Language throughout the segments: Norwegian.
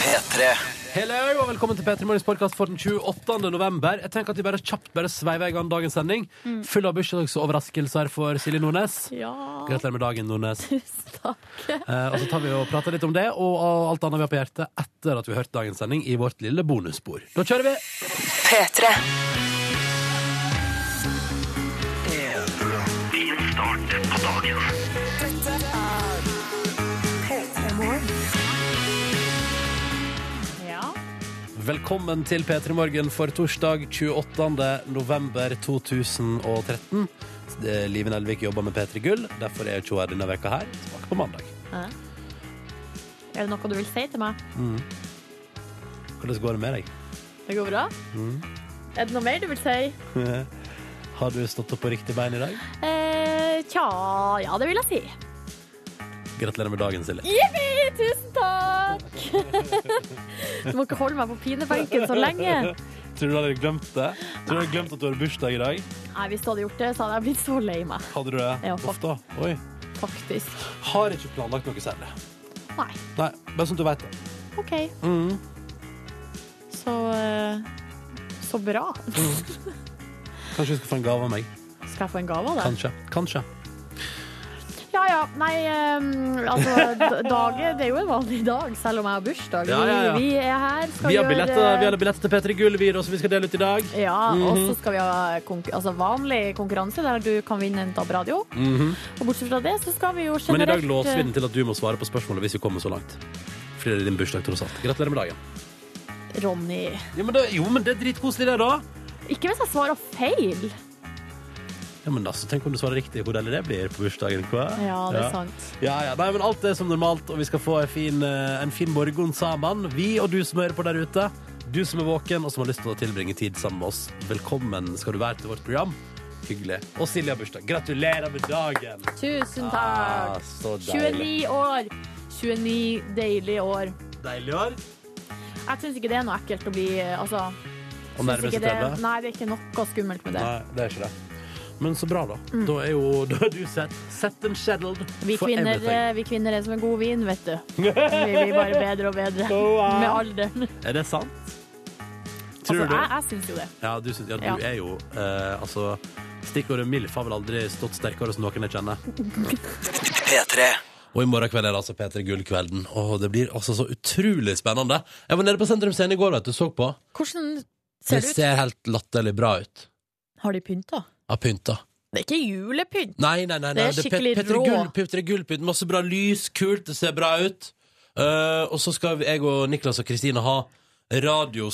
P3. Hello, og velkommen til P3 Morgens podkast for den 28. november. Jeg tenker at vi bare kjapt bare sveiver i gang dagens sending. Full av bursdagsoverraskelser for Silje Nordnes. Ja, Gratulerer med dagen, Nordnes. tusen takk. Eh, og så tar vi og prater litt om det og, og alt annet vi har på hjertet etter at vi har hørt dagens sending i vårt lille bonusbord. Da kjører vi! P3. Ja. Velkommen til P3 Morgen for torsdag 28. november 2013. Det- Live Nelvik Eh, jobber med P3 Gull, derfor er ikke hun her denne veka her. Tilbake på mandag. Er det noe du vil si til meg? Hvordan går det med deg? Det går bra? Er det noe mer du vil si? Har du stått opp på riktig bein i dag? Eh, tja, ja, det vil jeg si. Gratulerer med dagen, Silje. Jippi, tusen takk! du må ikke holde meg på pinebenken så lenge. Tror du du hadde glemt det? Tror du du hadde glemt at du har bursdag i dag? Nei, Hvis du hadde gjort det, så hadde jeg blitt så lei meg, Hadde du det? Ja, Uff da. Oi. faktisk. Har ikke planlagt noe særlig. Nei, Nei, bare sånn at du vet det. OK. Så eh, så bra. Kanskje du skal få en gave av meg. Skal jeg få en gave av deg? Kanskje. Kanskje. Ja ja. Nei, eh, altså d- dagen Det er jo en vanlig dag, selv om jeg har bursdag. Ja, ja, ja. Vi, vi er her. Skal Vi har Mhm. gjøre- billetter, vi hadde billetter til P3 Gull, vi, da, som vi skal dele ut i dag. Ja, og så skal vi ha konkur altså vanlig konkurranse der du kan vinne en DAB-radio. Og bortsett fra det så skal vi jo generelt Mhm. Men i dag eh, låser vi den til at du må svare på spørsmålet hvis vi kommer så langt. Fordi det er din bursdag, tross alt. Gratulerer med dagen. Ronny. Ja, men det, jo, men det er dritkoselig, det, da. Ikke hvis jeg svarer feil. Ja, men altså, Tenk om du svarer riktig hvor deilig det blir på bursdagen. Hva? Ja, det er sant. Ja, ja, Nei, men alt er som normalt, og vi skal få en fin, eh, en fin morgen sammen. Vi og du som hører på der ute. Du som er våken og som har lyst til å tilbringe tid sammen med oss. Velkommen skal du være til vårt program. Hyggelig. Og Silje har bursdag. Gratulerer med dagen! Tusen Ah, takk. så deilig. 29 år. 29 deilige år. Deilig år. Jeg syns ikke det er noe ekkelt å bli altså, Og synes nærmest ikke det, 30. Nei, det er ikke noe skummelt med det. Nei, det er ikke det. Men så bra, da. Da er jo da er du set, set and settled Mm. Vi for kvinner, eh, everything. vi kvinner er som en god vin, vet du. Vi blir bare bedre og bedre Wow. med alderen. Er det sant? Altså, Tror du? jeg, jeg syns jo det. Ja, du, syns- ja, du Ja. er jo eh, Altså, stikkordet MILF har vel aldri stått sterkere hos noen jeg kjenner. P3. Og i morgen kveld er det altså P3 Gull-kvelden. Og det blir altså så utrolig spennende. Jeg var nede på Sentrum Scene i går, vet du. Så på. Hvordan Det ser det ut? ser helt latterlig bra ut. Har de pynta? Av pynta. Det er ikke julepynt. Nei, nei, nei. nei. Det er skikkelig Petre rå. Gull, Petre Gullpynt, masse bra lys, kult, det ser bra ut. Eh, og så skal jeg og Niklas og Kristine ha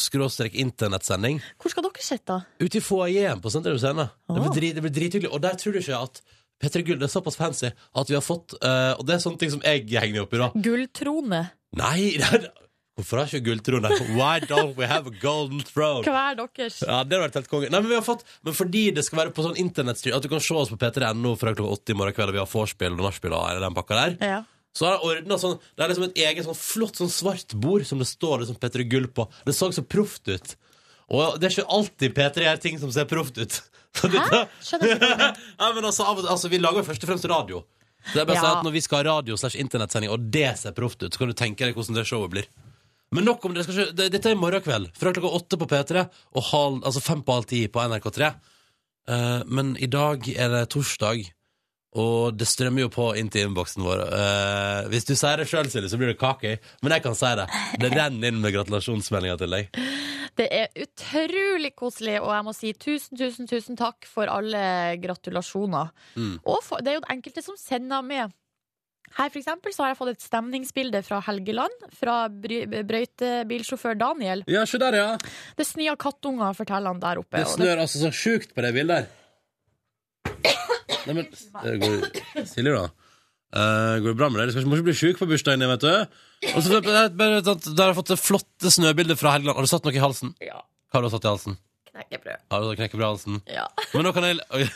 radio-internettsending Hvor skal dere sitte? ute i foajeen på Sentrum Scene. Det blir, Ah. drit, det blir drithyggelig. Og der tror du ikke at Petre Gull det er såpass fancy at vi har fått eh, Og det er sånne ting som jeg henger meg opp i, da. Gulltrone. Nei, det er- hvorfor har ikke gulltrone? Why don't we have a golden throne? Hver deres. Ja, det hadde vært helt konge. Nei, men, vi har fått, men fordi det skal være på sånn internettstyr, at du kan se oss på p3.no fra klokka åtte i morgen kveld, og vi har vorspiel og nachspiel og hele den pakka der, Ja. så har jeg ordnet sånn Det er liksom et eget sånn flott sånn svart bord som det står liksom P3 Gull på. Det så så proft ut. Og det er ikke alltid P3 gjør ting som ser proft ut. Så det- Hæ? Skjønner ikke hva Nei, men altså, av og til- altså, vi lager jo først og fremst radio. Så det er bare å si Ja. at Når vi skal ha radio slash internettsending, og det ser proft ut, så kan du tenke deg hvordan det showet blir. Men nok om det. Skal ikke, det- dette er i morgen kveld. Fra klokka åtte på P3 og halv, altså fem på halv ti på NRK3. Eh, men i dag er det torsdag, og det strømmer jo på inn til innboksen vår. Eh, hvis du sier det sjøl, Silje, så blir det kake. Men jeg kan si det. Det renner inn med gratulasjonsmeldinger til deg. Det er utrolig koselig, og jeg må si tusen, tusen, tusen takk for alle gratulasjoner. Mm. Og for, det er jo enkelte som sender med. Her for eksempel så har jeg fått et stemningsbilde fra Helgeland, fra bry- brøytebilsjåfør Daniel. Ja, se der, ja. Det Det snør kattunger, forteller han der oppe. og det- snør altså så sjukt på det bildet der. Nei, men det går, Silje, da. Eh, går det bra med deg? Du skal ikke, må ikke bli sjuk på bursdagen din, vet du. Og så bare, bare, sånn at Der har jeg fått det flotte snøbildet fra Helgeland. Har du satt noe i halsen? Ja, Hva har du satt i halsen? knekkebrød. Har du knekket bra halsen? Ja. Men nå kan jeg Oi.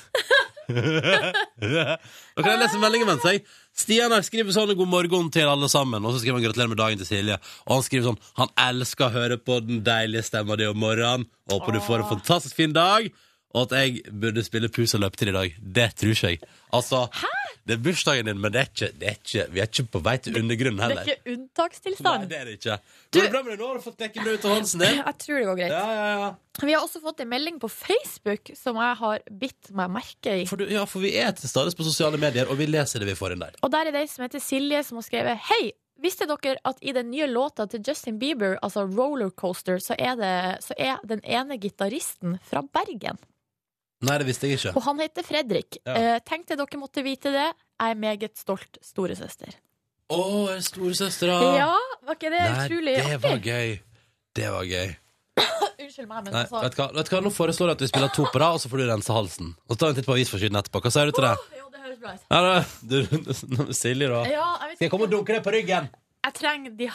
Nå kan jeg lese meldingen mens jeg Stian her skriver sånn 'God morgen til alle sammen', og så skriver han 'Gratulerer med dagen' til Silje. Og han skriver sånn 'Han elsker å høre på den deilige stemma di om morgenen'. 'Håper du får en fantastisk fin dag'. Og at jeg burde spille pus og løpe til i dag. Det tror ikke jeg. Altså, det er bursdagen din, men det er ikke, det er ikke, vi er ikke på vei til undergrunnen Det er heller. ikke Nei, unntakstilstand. det er det ikke. Går det bra med deg nå? Har du fått dekket brød ut av halsen din? Jeg tror det går greit. Ja, ja, ja. Vi har også fått en melding på Facebook som jeg har bitt meg merke i. For, du, ja, for vi er til stades på sosiale medier, og vi leser det vi får inn der. Og der er det ei som heter Silje, som har skrevet Hei! Visste dere at i den nye låta til Justin Bieber, altså 'Rollercoaster', så er, det, så er den ene gitaristen fra Bergen? Nei, det visste jeg ikke. Og han heter Fredrik. Ja. Eh, tenkte dere måtte vite det. Jeg er meget stolt storesøster. Å, er det storesøstera? Ja, var ikke det utrolig Nei, det var artig? gøy. Det var gøy. Unnskyld meg, men Nei, altså vet du hva? Vet du hva? Nå foreslår jeg at vi spiller to på rad, og så får du rense halsen. Og så tar vi en titt på avisforsiden etterpå. Hva sier du til det? Jo, det høres bra ut. Ja, da, du, Silje, da. Ja, jeg, vet Skal jeg komme og ikke. dunke deg på ryggen? jeg trenger de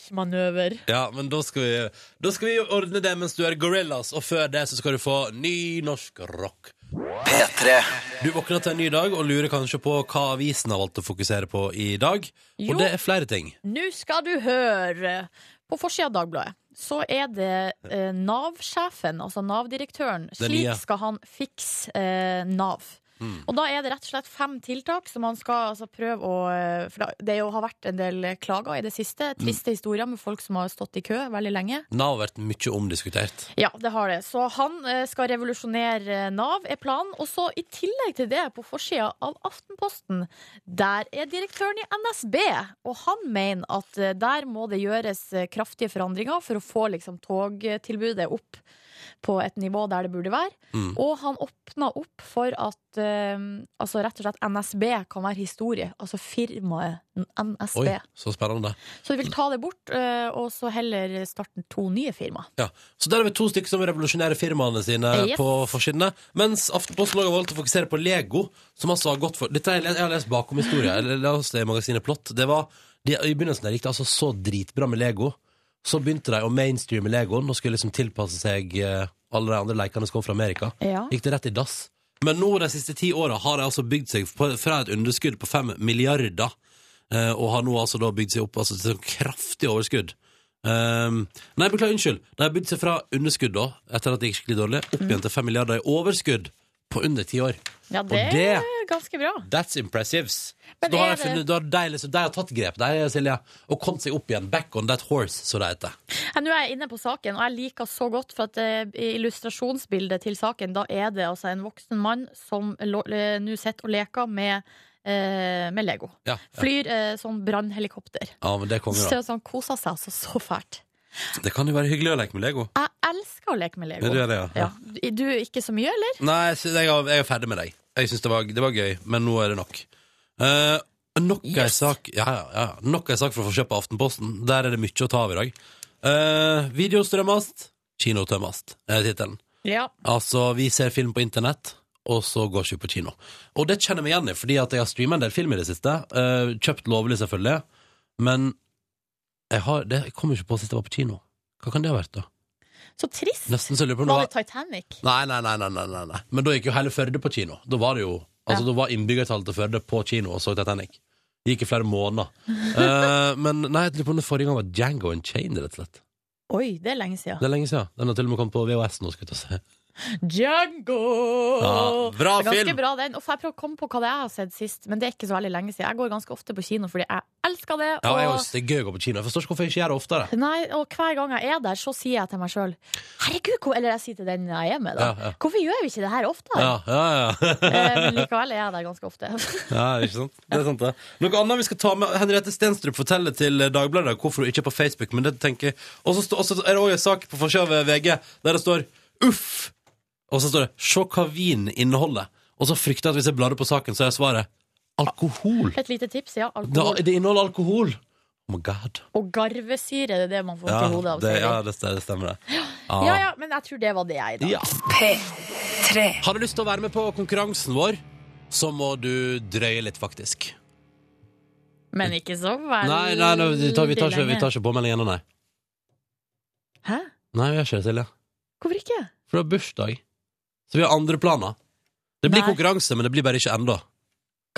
Heimlich-manøver. Ja, men da skal vi Da skal vi ordne det mens du er gorillas, og før det så skal du få ny norsk rock. P3. Du våkner til en ny dag og lurer kanskje på hva avisen har valgt å fokusere på i dag. Jo. Og det er flere ting. Nå skal du høre! På forsida av Dagbladet så er det eh, Nav-sjefen, altså Nav-direktøren. Den Slik nye. skal han fikse eh, Nav. Og da er det rett og slett fem tiltak som han skal altså, prøve å eh, For da- det er jo, har vært en del klager i det siste. Triste historier med folk som har stått i kø veldig lenge. Nav har vært mye omdiskutert. Ja, det har det. Så han eh, skal revolusjonere eh, Nav, er planen. Og så i tillegg til det, på forsida av Aftenposten, der er direktøren i NSB. Og han mener at eh, der må det gjøres eh, kraftige forandringer for å få liksom, togtilbudet opp på et nivå der det burde være. Mm. Og han åpna opp for at eh, altså rett og slett NSB kan være historie. Altså firmaet NSB. Oi, så spennende. Så de vil ta det bort, eh, og så heller starte to nye firma. Ja. Så der har vi to stykker som revolusjonerer firmaene sine Eh, Yes. på forsidene. Mens Aftenposten også har valgt å fokusere på Lego, som altså har gått for Dette har jeg, jeg har lest bakom historien. Jeg leste i magasinet Plott. Det var, de, I begynnelsen der gikk det altså så dritbra med Lego. Så begynte de å mainstreame Legoen og skulle liksom tilpasse seg eh, alle de andre lekene som kom fra Amerika. Ja. Gikk det rett i dass. Men nå de siste ti åra har de altså bygd seg på, fra et underskudd på fem milliarder, eh, og har nå altså da bygd seg opp altså, til et kraftig overskudd. Ehm, nei, beklager, unnskyld. De har bygd seg fra underskudd da, etter at det gikk skikkelig dårlig, opp igjen til fem milliarder i overskudd på under ti år. Ja, det, det- er ganske bra. That's impressives. Så Men da har er de, funnet, da har de, liksom, de har tatt grep, de, Silje, og kommet seg opp igjen. Back on that horse, så det heter. Ja, Nå er jeg inne på saken, og jeg liker så godt for at eh, i illustrasjonsbildet til saken, da er det altså en voksen mann som lo- eh, nå sitter og leker med, eh, med Lego. Ja, ja. Flyr eh, sånn brannhelikopter. ja men det kommer, Så han koser seg altså så fælt. da. Det kan jo være hyggelig å leke med Lego. Jeg elsker å leke med Lego. Ja, du gjør det, ja. ja. Du- Du ikke så mye, eller? Nei, jeg, synes- jeg, er- jeg er ferdig med deg. Jeg syns det, var- det var gøy, men nå er det nok. Eh, nok ei Yes. sak Ja, ja, ja. Nok ei sak for å få kjøpt på Aftenposten. Der er det mye å ta av i dag. Eh, video strømmast, kino tømmast, er tittelen. Ja. Altså, vi ser film på internett, og så går ikke vi på kino. Og det kjenner jeg meg igjen i, fordi at jeg har streama en del film i det siste. eh, kjøpt lovlig, selvfølgelig. Men jeg, har, det, jeg kom ikke på sist jeg var på kino. Hva kan det ha vært, da? Så trist. Nesten så jeg lurer på om det Var var- det Titanic? Nei, nei, nei, nei, nei, nei, nei. Men da gikk jo hele Førde på kino. Da var det jo Altså, da var innbyggertallet til Førde på kino og så Titanic. Det gikk i flere måneder. Eh, men nei, jeg lurer på om det forrige gang var Django and Chain, rett og slett. Oi, det er lenge siden. Det er lenge siden. Den har til og med kommet på VHS nå, skal vi ta se. Django! Ja, bra Det er Ganske film. bra den. Og får jeg prøve å komme på hva det er jeg har sett sist, men det er ikke så veldig lenge siden. Jeg går ganske ofte på kino fordi jeg elsker det. Ja, jeg og... også, det er gøy å gå på kino. Jeg forstår ikke hvorfor jeg ikke gjør det oftere. Nei, og hver gang jeg er der, så sier jeg til meg sjøl Herregud, hvor... eller jeg sier til den jeg er med, da. Ja, ja. Hvorfor gjør vi ikke det her oftere? Ja, ja, ja. Eh, Men likevel er jeg der ganske ofte. ja ikke sant? Det er sant, det. Noe annet vi skal ta med Henriette Stenstrup forteller til eh, Dagbladet hvorfor hun ikke er på Facebook, men det tenker jeg Og så stå- og så er det òg en sak på forsida av VG der det står 'uff', og så står det 'se hva vin inneholder', og så frykter jeg at hvis jeg blar opp på saken, så er svaret alkohol. Et lite tips, ja. Det, Alkohol det inneholder alkohol. Oh my god. og garvesyre, det er det man får til hodet av. det, sier de. ja, det, det stemmer, det. ja, ja, men jeg tror det var det jeg, da. Ja. Har du lyst til å være med på konkurransen vår, så må du drøye litt, faktisk. Men ikke så veldig Nei, nei, nei vi, tar, vi, tar ikke, vi tar ikke påmelding ennå, nei. Hæ? Nei, vi gjør ikke det, Silje. Hvorfor ikke? For du har bursdag. Så vi har andre planer. Det blir Nei. konkurranse, men det blir bare ikke ennå.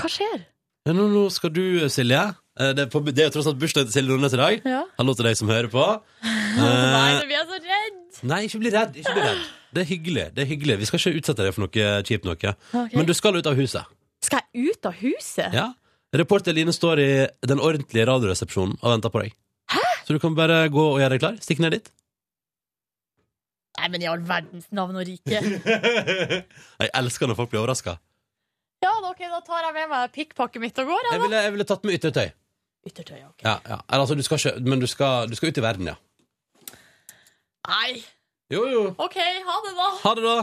Hva skjer? Ja, nå, nå skal du, Silje. eh, Det er, på, det er jo tross alt bursdagen til Silje Nordnes i dag. Ja. Hallo til deg som hører på. Nei, Eh, nå blir jeg så redd! Nei, ikke bli redd. Ikke bli redd. Det er hyggelig. det er hyggelig Vi skal ikke utsette deg for noe kjipt noe. Ok. Men du skal ut av huset. Skal jeg ut av huset? Ja. Reporter Line står i den ordentlige radioresepsjonen og venter på deg. Så du kan bare gå og gjøre deg klar. Stikk ned dit. Nei, men i all verdens navn og rike. Jeg elsker når folk blir overraska. Ja, da, ok, da tar jeg med meg pikkpakket mitt og går. Jeg, Jeg, da. ville- jeg ville tatt med yttertøy. Yttertøy, ok. Ja, ja. Eller, altså, du skal ikke, men du skal, du skal ut i verden, ja. Nei, Jo, jo. ok, ha det da. Ha det, da.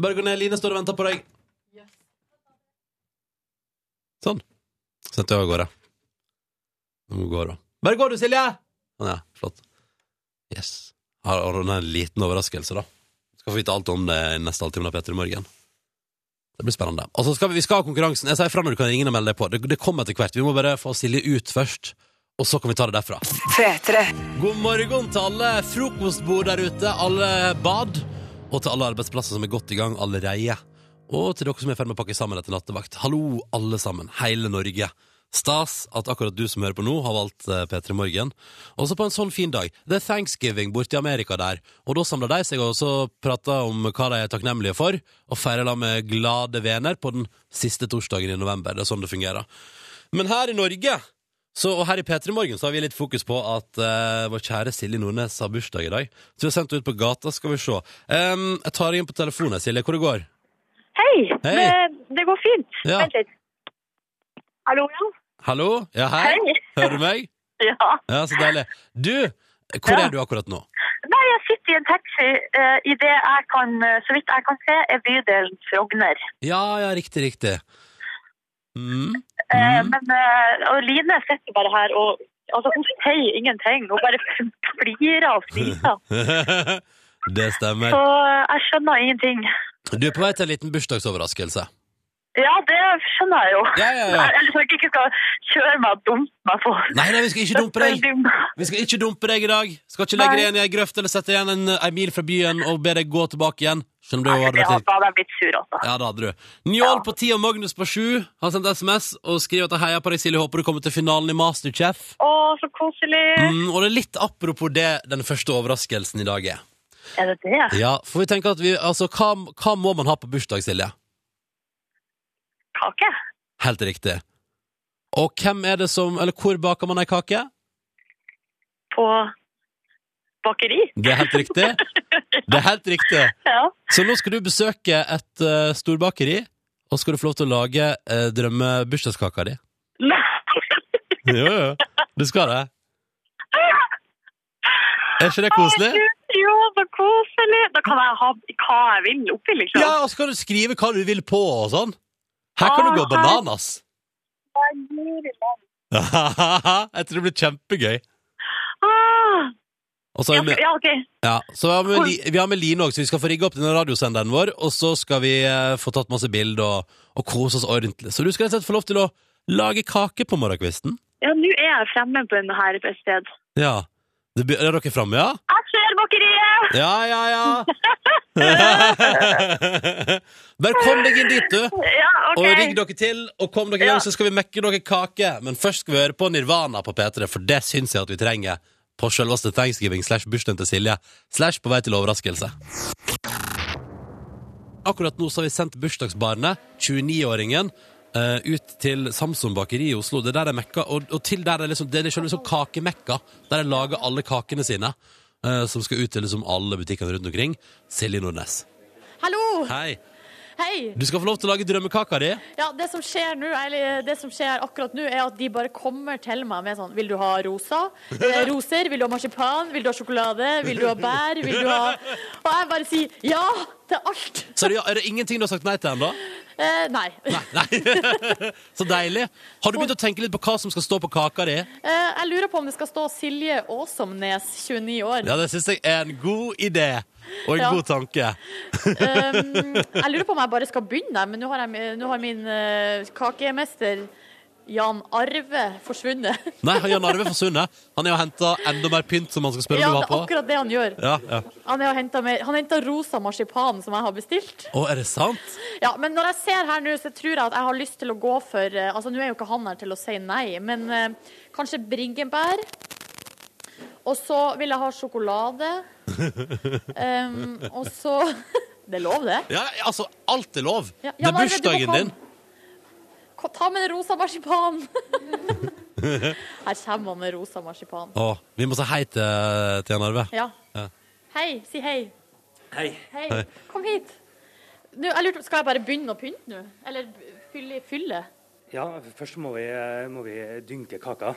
Bare gå ned. Line står og venter på deg. Yes. Sånn. Sendte jeg av gårde. Nå må hun gå, da. Bare gå, du, Silje! Sånn, ja. Flott. Yes. Her har hun en liten overraskelse, da. Skal få vite alt om det i neste halvtime av Petter i morgen. Det blir spennende. Og så skal vi, vi skal ha konkurransen. Jeg sier fra når du kan ringe og melde deg på. Det, det kommer etter hvert. Vi må bare få Silje ut først, og så kan vi ta det derfra. P3. God morgen til alle frokostbord der ute, alle bad, og til alle arbeidsplasser som er godt i gang allerede. Og til dere som er i ferd med å pakke sammen etter nattevakt. Hallo, alle sammen. Hele Norge. Stas at akkurat du som hører på nå, har valgt eh, P3 Morgen. Også på en sånn fin dag. Det er thanksgiving borte i Amerika der, og da samler de seg og så prater om hva de er takknemlige for, og feirer da med glade venner på den siste torsdagen i november. Det er sånn det fungerer. Men her i Norge så, og her i P3 Morgen så har vi litt fokus på at eh, vår kjære Silje Nordnes har bursdag i dag. Så vi har sendt henne ut på gata. Skal vi se. Em, jeg tar deg inn på telefonen, Silje. Hvor det går? Hei, Hei. Det, det går fint. Ja. Vent litt. Hallo, ja? Hallo? Ja, hei? Hei. Hører du meg? Ja. Ja, så deilig. Du, hvor Ja. er du akkurat nå? Nei, jeg sitter i en taxi eh, i det jeg kan, eh, så vidt jeg kan se, er bydelen Frogner. Ja, ja, riktig, riktig. Mm. Eh, Mm. men eh, og Line sitter bare her og altså, hun sier ingenting. Hun bare flirer og flirer. Det Så stemmer. eh, jeg skjønner ingenting. Du er på vei til en liten bursdagsoverraskelse. Ja, det skjønner jeg jo. Ja, ja, ja. Ellers skal jeg ikke skal kjøre meg og dumpe meg på. Nei, nei, vi skal ikke dumpe deg. Vi skal ikke dumpe deg i dag. Skal ikke legge deg igjen i ei grøft eller sette igjen en, en mil fra byen og be deg gå tilbake igjen. Skjønner du Nei, hva det det hadde- betyr? da hadde jeg blitt sur, altså. Ja, det hadde du. Njål på ti og Magnus på sju har sendt SMS og skriver at jeg heier på deg, Silje. Håper du kommer til finalen i Masterchef. Å, så koselig. Mm, og det er litt apropos det den første overraskelsen i dag er. Er det det? Ja, for vi tenker at vi, altså, hva, hva må man ha på bursdag, Silje? Kake? Helt riktig. Og hvem er det som, eller hvor baker man ei kake? på bakeri. Det er helt riktig. Det er helt riktig. Ja. Så nå skal du besøke et eh, storbakeri, og skal du få lov til å lage uh, drømmebursdagskaka di. Jo, jo. Du skal det. Er ikke det koselig? Jo, så koselig! Da kan jeg ha hva jeg vil oppi, liksom. Ja, og så kan du skrive hva du vil på og sånn. Her kan du gå bananas. Jeg tror det blir kjempegøy. Ah, Og så har vi med, ja, ok. ja, så har vi, med Li- vi har med Line òg, så vi skal få rigge opp denne radiosenderen vår. Og så skal vi eh, få tatt masse bilder og, og kose oss ordentlig. Så du skal rett og slett få lov til å lage kake på morgenkvisten. Ja, nå er jeg fremme på denne her et sted. Ja. Det, be- er dere framme, ja? Jeg ser bakeriet! Ja, ja, ja. Bare kom deg inn dit, du. Ja, ok. Og rigg dere til, og kom dere i gang, Ja. så skal vi mekke dere kake. Men først skal vi høre på Nirvana på P3, for det syns jeg at vi trenger. På selveste thanksgiving slash bursdagen til Silje. Slash på vei til overraskelse. Akkurat nå så har vi sendt bursdagsbarnet, 29-åringen, eh, ut til Samson bakeri i Oslo. Det er der de mekka, og, og til der de liksom, det er liksom, liksom kakemekka, der de lager alle kakene sine. eh, som skal ut til liksom alle butikkene rundt omkring. Silje Nordnes. Hallo! Hei. Hei! Du skal få lov til å lage drømmekaka di. Ja, det som skjer nå, eller det som skjer akkurat nå, er at de bare kommer til meg med sånn Vil du ha rosa? Eh, Roser? Vil du ha marsipan? Vil du ha sjokolade? Vil du ha bær? Vil du ha Og jeg bare sier ja til alt. Så er det, er det ingenting du har sagt nei til ennå? Eh, nei. Nei. Så deilig. Har du begynt å tenke litt på hva som skal stå på kaka di? Eh, jeg lurer på om det skal stå Silje Åsomnes, 29 år. Ja, det syns jeg er en god idé. Og en Ja. god tanke. Um, jeg lurer på om jeg bare skal begynne, der, men nå har, jeg, nå har min eh, kakemester Jan Arve forsvunnet. Nei, han Jan Arve forsvunnet. Han er jo henta enda mer pynt som han skal spørre Ja, om det du er har på. akkurat det han gjør. Ja, ja. Han har henta mer- han hentet rosa marsipan som jeg har bestilt. Å, er det sant? Ja, Men når jeg ser her nå, så tror jeg at jeg har lyst til å gå for eh, Altså, nå er jo ikke han her til å si nei, men eh, kanskje bringebær. Og så vil jeg ha sjokolade. Um, og så Det er lov, det. Ja, altså, alt er lov. Ja, det Jan er Arve, du må bursdagen din. Ko- Ta med den rosa marsipanen! Her kommer han med rosa marsipan. Å, vi må si hei til, til Jan Arve. Ja. Ja. Hei, si hei. Hei. Hei. Hei. Kom hit. Nå, jeg lurte, skal jeg bare begynne å pynte nå? Eller b- fylle? fylle? Ja, først må vi, må vi dynke kaka,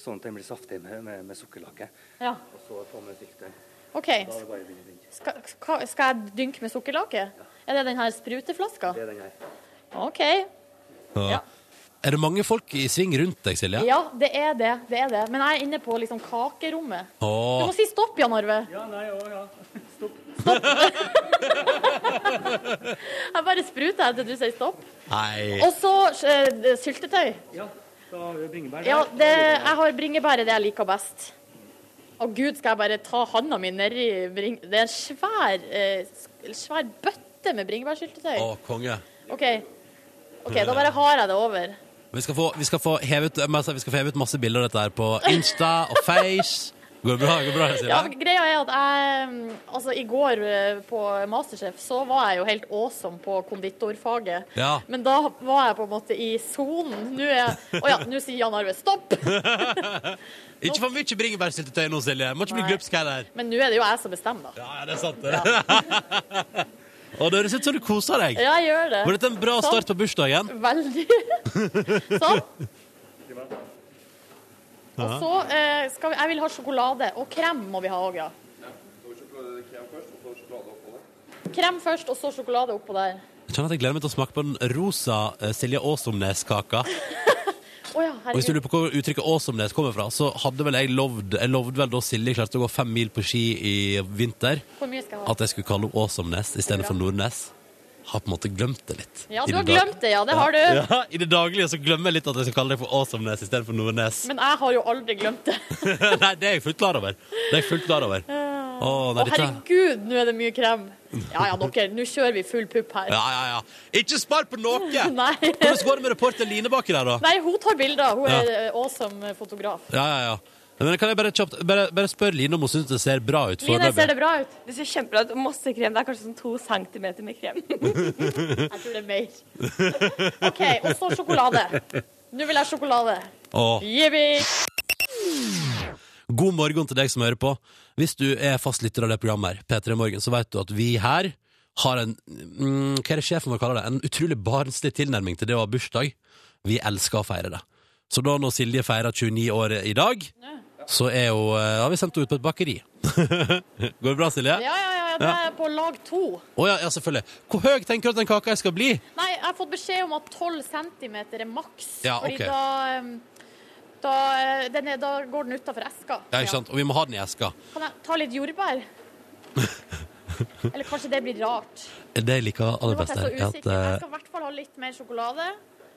sånn at den blir saftig med, med, med sukkerlake. Ja. Og så på med sikteren. OK. Da er det bare å begynne å dynke. Skal, ska- skal jeg dynke med sukkerlake? Er det den her spruteflaska? Det er den her. OK. Ja. Ja. Er det mange folk i sving rundt deg, Silje? Ja, det er det. det er det. Men jeg er inne på liksom kakerommet. Du Å, må si stopp, Jan Arve. Ja, nei, å, ja. Stopp. Jeg bare spruter jeg til du sier stopp. nei. Og så eh, syltetøy. Ja, da har vi bringebær Ja, der. det, jeg har bringebær er det jeg liker best. Å gud, skal jeg bare ta handa mi nedi bring... Det er en svær, eh, sk- svær bøtte med bringebærsyltetøy. Å, konge. OK. OK, da bare har jeg det over. Vi skal få, vi skal få, hevet, jeg må si, vi skal få hevet masse bilder av dette her på Insta og Face. Går det bra, går det bra Silje? Ja, greia er at jeg mm, Altså, i går eh, på Masterchef så var jeg jo helt awesome på konditorfaget. Ja. Men da var jeg på en måte i sonen. Nå er jeg Å ja, nå sier Jan Arve stopp! Ikke for mye bringebærsyltetøy nå, Silje. Må ikke bli Nei. glupsk her. der. Men nå er det jo jeg som bestemmer, da. Ja, ja, det er sant. det. Og det høres ut som du koser deg. Ja, Sånn. jeg gjør det. Var dette en bra Sant. start på bursdagen? Veldig. Sånn. Og så eh, skal vi Jeg vil ha sjokolade. Og krem må vi ha òg, ja. Krem først, og så sjokolade oppå der. Jeg kjenner at jeg gleder meg til å smake på den rosa eh, Silje Åsomnes-kaka. Å ja, Og hvis du herregud. lurer på hvor uttrykket Åsomnes kommer fra, så hadde vel jeg lovd Jeg lovde vel da Silje klarte å gå fem mil på ski i vinter, Hvor mye skal jeg ha? at jeg skulle kalle henne Åsomnes istedenfor Nordnes. Har på en måte glemt det litt. Ja, I du har dag- glemt det, ja. Det har du. Ja, I det daglige så glemmer jeg litt at jeg skal kalle deg for Åsomnes istedenfor Nordnes. Men jeg har jo aldri glemt det. nei, det er jeg fullt klar over. Det er jeg fullt klar over. Å, nei, Å dette... herregud, nå er det mye krem. Ja ja, dere, nå kjører vi full pupp her. Ja, ja, ja. Ikke spar på noe! Nei. Hvordan går det med reporter Line baki der, da? Nei, hun tar bilder. Hun er eh, awesome fotograf. Ja, ja, ja. Men kan jeg bare, kjapt, bare, bare spørre Line om hun syns det ser bra ut Line, ser foreløpig? det bra ut? Det ser kjempebra ut. Masse krem. Det er kanskje sånn to centimeter med krem. Jeg tror det er mer. OK, og så sjokolade. Nå vil jeg sjokolade. Å, Jippi! God morgen til deg som hører på. Hvis du er fast lytter av det programmet her, P3 Morgen, så vet du at vi her har en mm, Hva er det sjefen vår kaller det? En utrolig barnslig tilnærming til det å ha bursdag. Vi elsker å feire det. Så da når Silje feirer 29 år i dag, så er jo, eh, har vi sendt henne ut på et bakeri. Går det bra, Silje? Ja, ja, ja, ja, det er på lag to. Å ja, ja, selvfølgelig. Hvor høy tenker du at den kaka skal bli? Nei, jeg har fått beskjed om at 12 cm er maks. Ja, ok. Fordi da, um, da, eh, den er, da går den utafor eska. Ja, ikke sant? Og vi må ha den i eska. Kan jeg ta litt jordbær? Eller kanskje det blir rart. Det jeg liker Nå aller ble best, jeg så her, er at usikker. Jeg eh, skal i hvert fall ha litt mer sjokolade.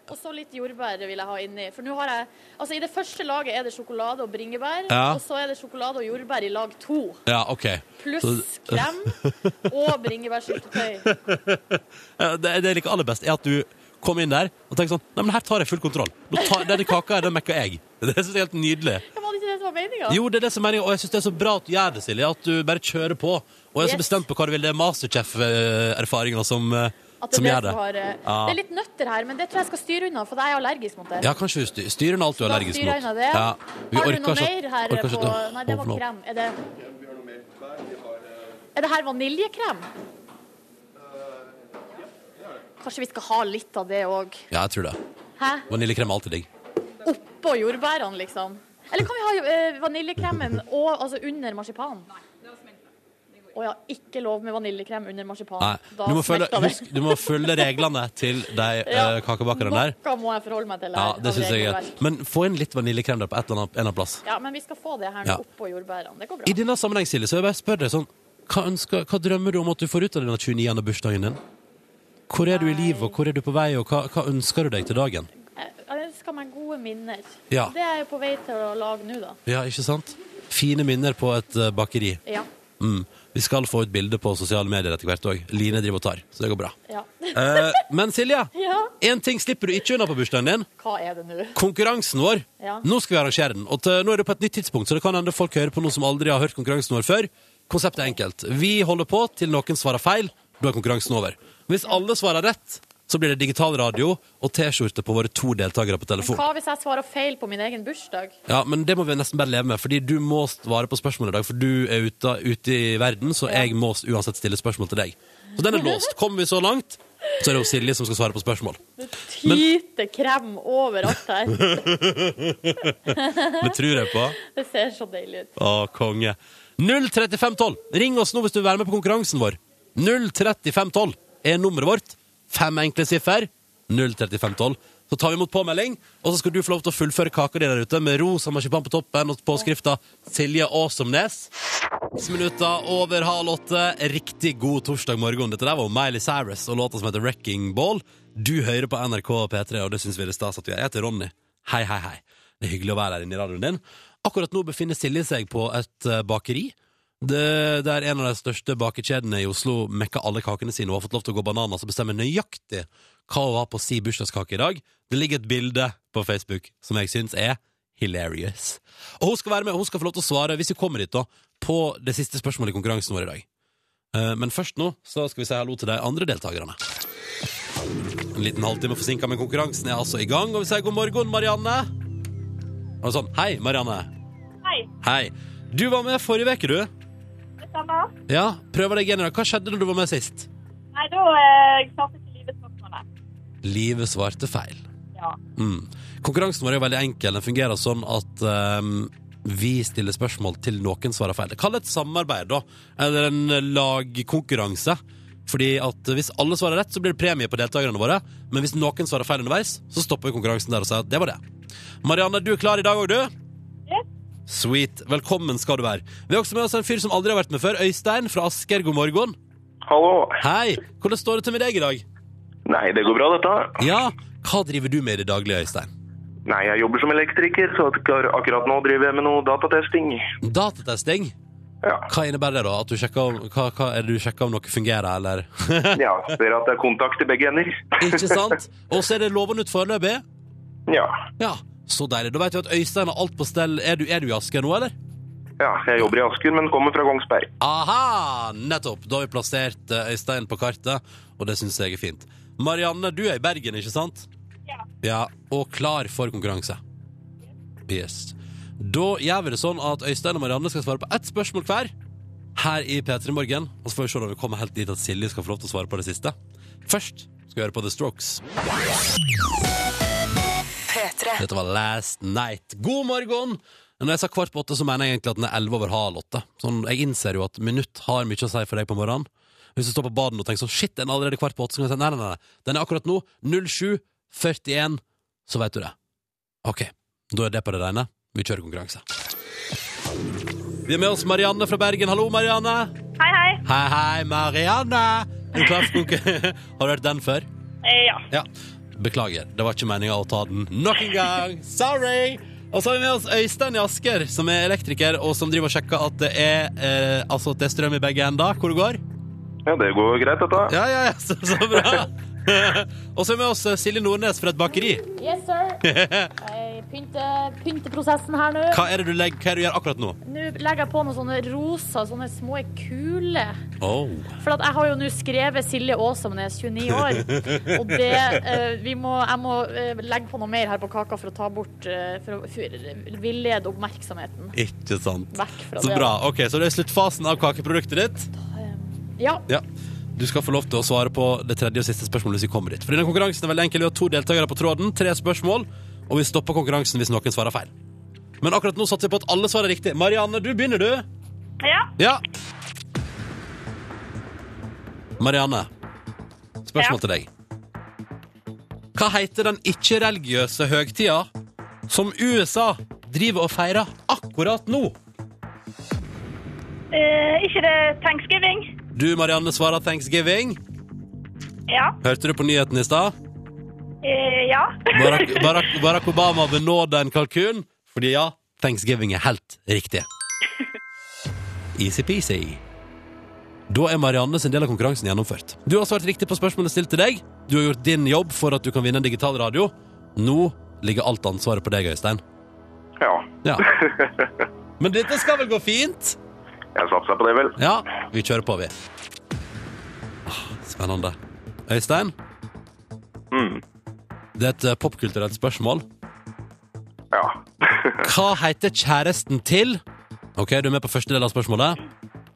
Og så litt jordbær vil jeg ha inni. For nå har jeg Altså, i det første laget er det sjokolade og bringebær. Ja. Og så er det sjokolade og jordbær i lag to. Ja, OK. Pluss Så- krem og bringebærsyltetøy. Eh, Det, det jeg liker aller best, er at du kommer inn der og tenker sånn Nei, men her tar jeg full kontroll. Nå tar, denne kaka her, den mekker jeg. Det synes jeg er helt nydelig. Det var ikke det som var meninga. Jo, det er det som er meningen, og jeg synes det er så bra at du gjør det, Silje. At du bare kjører på. Og jeg er så Yes. bestemt på hva du vil. Det er Masterchef-erfaringa som, eh, At det, som er gjør det, det. som har, eh, Ja. det er litt nøtter her, men det tror jeg skal styre unna, for jeg er allergisk mot det. Ja, kanskje du styr, styrer den alt du er Da allergisk styrer jeg mot. unna det. Ja. Vi har du orker noe ikke- mer her orker ikke- på Åh, Nei, det var forlåt. krem. Er det, er det her vaniljekrem? Kanskje vi skal ha litt av det òg? Ja, jeg tror det. Hæ? Vaniljekrem er alltid digg. Oppå jordbærene, liksom? Eller kan vi ha eh, vaniljekremen og, altså, under marsipanen? Å ja, ikke lov med vaniljekrem under Nei. marsipanen. Du må, følge, husk, du må følge reglene til de eh, kakebakerne der. Noe må jeg forholde meg til. Ja, her det av synes jeg er regelverk. greit. Men få inn litt vaniljekrem der på et eller annet, en eller annen plass. Ja, men vi skal få det her nå Ja. oppå jordbærene. Det går I bra. denne sammenheng, Silje, så vil jeg bare spørre deg sånn hva, ønsker, hva drømmer du om at du får ut av denne 29. bursdagen din? Hvor er du i livet, og hvor er du på vei, og hva, hva ønsker du deg til dagen? Jeg jeg ønsker meg gode minner. Ja. Det er jeg på vei til å lage nå, da. Ja, ikke sant? Fine minner på et eh, bakeri. Ja. Mm. Vi skal få ut bilde på sosiale medier etter hvert òg. Line driver og tar, så det går bra. ja. Eh, men Silje, Ja. én ting slipper du ikke unna på bursdagen din. Hva er det nå? Konkurransen vår. Ja. eh, Nå skal vi arrangere den. Og til, nå er det på et nytt tidspunkt, så det kan hende folk hører på noe som aldri har hørt konkurransen vår før. Konseptet er enkelt. Vi holder på til noen svarer feil. Da er konkurransen over. Hvis alle svarer rett, så blir det digital radio og T-skjorte på våre to deltakere på telefon. Hva hvis jeg svarer feil på min egen bursdag? Ja, men det må vi nesten bare leve med, fordi du må svare på spørsmålet i dag, for du er ute, ute i verden, så jeg må uansett stille spørsmål til deg. Så den er låst. Kommer vi så langt, så er det jo Silje som skal svare på spørsmål. Tyter krem overalt her. Det tror jeg på. Det ser så deilig ut. Å, konge. 03512. Ring oss nå hvis du vil være med på konkurransen vår. 03512 er nummeret vårt. Fem enkle siffer. 03512. Så tar vi imot påmelding, og så skal du få lov til å fullføre kaka di der ute med rosa marsipan på toppen og påskrifta Silje Åsomnes. Seks minutter over halv åtte. Riktig god torsdag morgen. Dette der var Miley Cyrus og låta som heter 'Wrecking Ball'. Du hører på NRK og P3, og det syns vi det er stas at du er. Jeg heter Ronny. Hei, hei, hei. Det er hyggelig å være her inne i radioen din. Akkurat nå befinner Silje seg på et eh, bakeri. Det, der en av de største bakekjedene i Oslo mekker alle kakene sine og har fått lov til å gå bananas og bestemme nøyaktig hva hun har på si bursdagskake i dag. Det ligger et bilde på Facebook som jeg syns er hilarious. Og hun skal være med, og hun skal få lov til å svare, hvis vi kommer dit da, på det siste spørsmålet i konkurransen vår i dag. Eh, Men først nå så skal vi si hallo til de andre deltakerne. En liten halvtime forsinka, men konkurransen er altså i gang. Og vi sier god morgen, Marianne. Og sånn, Hei, Marianne. Hei. Hei. Du var med forrige uke, du. Det samme. Ja, prøver deg igjen i dag. Hva skjedde når du var med sist? Nei, da eh, klarte ikke livet spørsmålet. Livet svarte feil. Ja. Mm. Konkurransen vår er jo veldig enkel. Den fungerer sånn at ehm, vi stiller spørsmål til noen svarer feil. Kall det et samarbeid, da. Eller en lagkonkurranse. Fordi at hvis alle svarer rett, så blir det premie på deltakerne våre. Men hvis noen svarer feil underveis, så stopper vi konkurransen der og sier at det var det. Marianne, du er klar i dag òg, du? Yes. Sweet. Velkommen skal du være. Vi har også med oss en fyr som aldri har vært med før. Øystein fra Asker, god morgen. Hallo. Hei. Hvordan står det til med deg i dag? Nei, det går bra, dette. Ja, hva driver du med i det daglige, Øystein? Nei, jeg jobber som elektriker, så akkur- akkurat nå driver jeg med noe datatesting. Datatesting? Ja. Hva innebærer det, da? At du sjekker om, hva, hva er det du sjekker om noe fungerer, eller ja, ser at det er kontakt i begge ender. Ikke sant? Og så er det lovende ut foreløpig? Ja. Ja, så deilig. Da vet vi at Øystein har alt på stell. Er du, er du i Asker nå, eller? ja, jeg jobber i Asker, men kommer fra Kongsberg. Aha! Nettopp. Da har vi plassert eh, Øystein på kartet, og det syns jeg er fint. Marianne, du er i Bergen, ikke sant? Ja. ja. Og klar for konkurranse. Yes. Da gjør vi det sånn at Øystein og Marianne skal svare på ett spørsmål hver her i P3 Morgen. Og så får vi se når vi kommer helt dit at Silje skal få lov til å svare på det siste. Først skal vi høre på The Strokes. Dette var Last Night. God morgen! Når jeg sa kvart på åtte, så mener jeg egentlig at den er elleve over halv åtte. Sånn, jeg innser jo at minutt har mye å si for deg på morgenen. Hvis du står på baden og tenker sånn shit, den er allerede kvart på åtte, så kan jeg si nei, nei, nei, nei. Den er akkurat nå 07.41, så vet du det. Ok, da er det på det rene. Vi kjører konkurranse. Vi har med oss Marianne fra Bergen. Hallo, Marianne. Hei, hei. Hei, hei, Marianne. Er du klar for konkurranse? Har du hørt den før? Eh, ja. Ja, beklager. Det var ikke meninga å ta den nok en gang. Sorry! Og så har vi med oss Øystein i Asker, som er elektriker, og som driver og sjekker at det er, eh, altså at det er strøm i begge ender. Hvor det går? Ja, det går greit, dette. Ja, ja, ja, så, så bra! og så er vi med oss eh, Silje Nordnes fra et bakeri. Yes, sir. Jeg pynter, pynter prosessen her nå. Hva er det du, legger, hva er det du gjør akkurat nå? Nå legger jeg på noen sånne rosa, sånne små kuler. Oh. For at jeg har jo nå skrevet Silje Åsamnes, 29 år. Og det eh, vi må, Jeg må eh, legge på noe mer her på kaka for å ta bort eh, For å for- villede oppmerksomheten Ikke sant. vekk fra Så det. bra. Ok, Så det er sluttfasen av kakeproduktet ditt. Ja. Ja. Du skal få lov til å svare på det tredje og siste spørsmålet hvis vi kommer dit. For denne konkurransen er veldig enkel. Vi har to deltakere på tråden, tre spørsmål, og vi stopper konkurransen hvis noen svarer feil. Men akkurat nå satser jeg på at alle svarer riktig. Marianne, du begynner, du. Ja. Ja. Marianne, spørsmål til deg. Hva heter den ikke-religiøse høgtida som USA driver og feirer akkurat nå? Eh, ikke det thanksgiving? Du, Marianne, svarer thanksgiving. Ja. Hørte du på nyheten i stad? Eh, ja. Barack, Barack, Barack Obama benåder en kalkun Fordi ja, Thanksgiving er helt riktig Easy-peasy Da er Marianne sin del av konkurransen gjennomført Du har svart riktig på spørsmålet stilt til deg Du har gjort din jobb for at du kan vinne en digital radio Nå ligger alt ansvaret på deg, Øystein Ja. Ja Men dette skal vel gå fint? Jeg satser på det, vel. Ja, vi kjører på, vi. Ah, Spennende. Øystein, Mm. det er et eh, popkulturelt spørsmål. Ja. Hva heter kjæresten til Ok, du er med på første del av spørsmålet.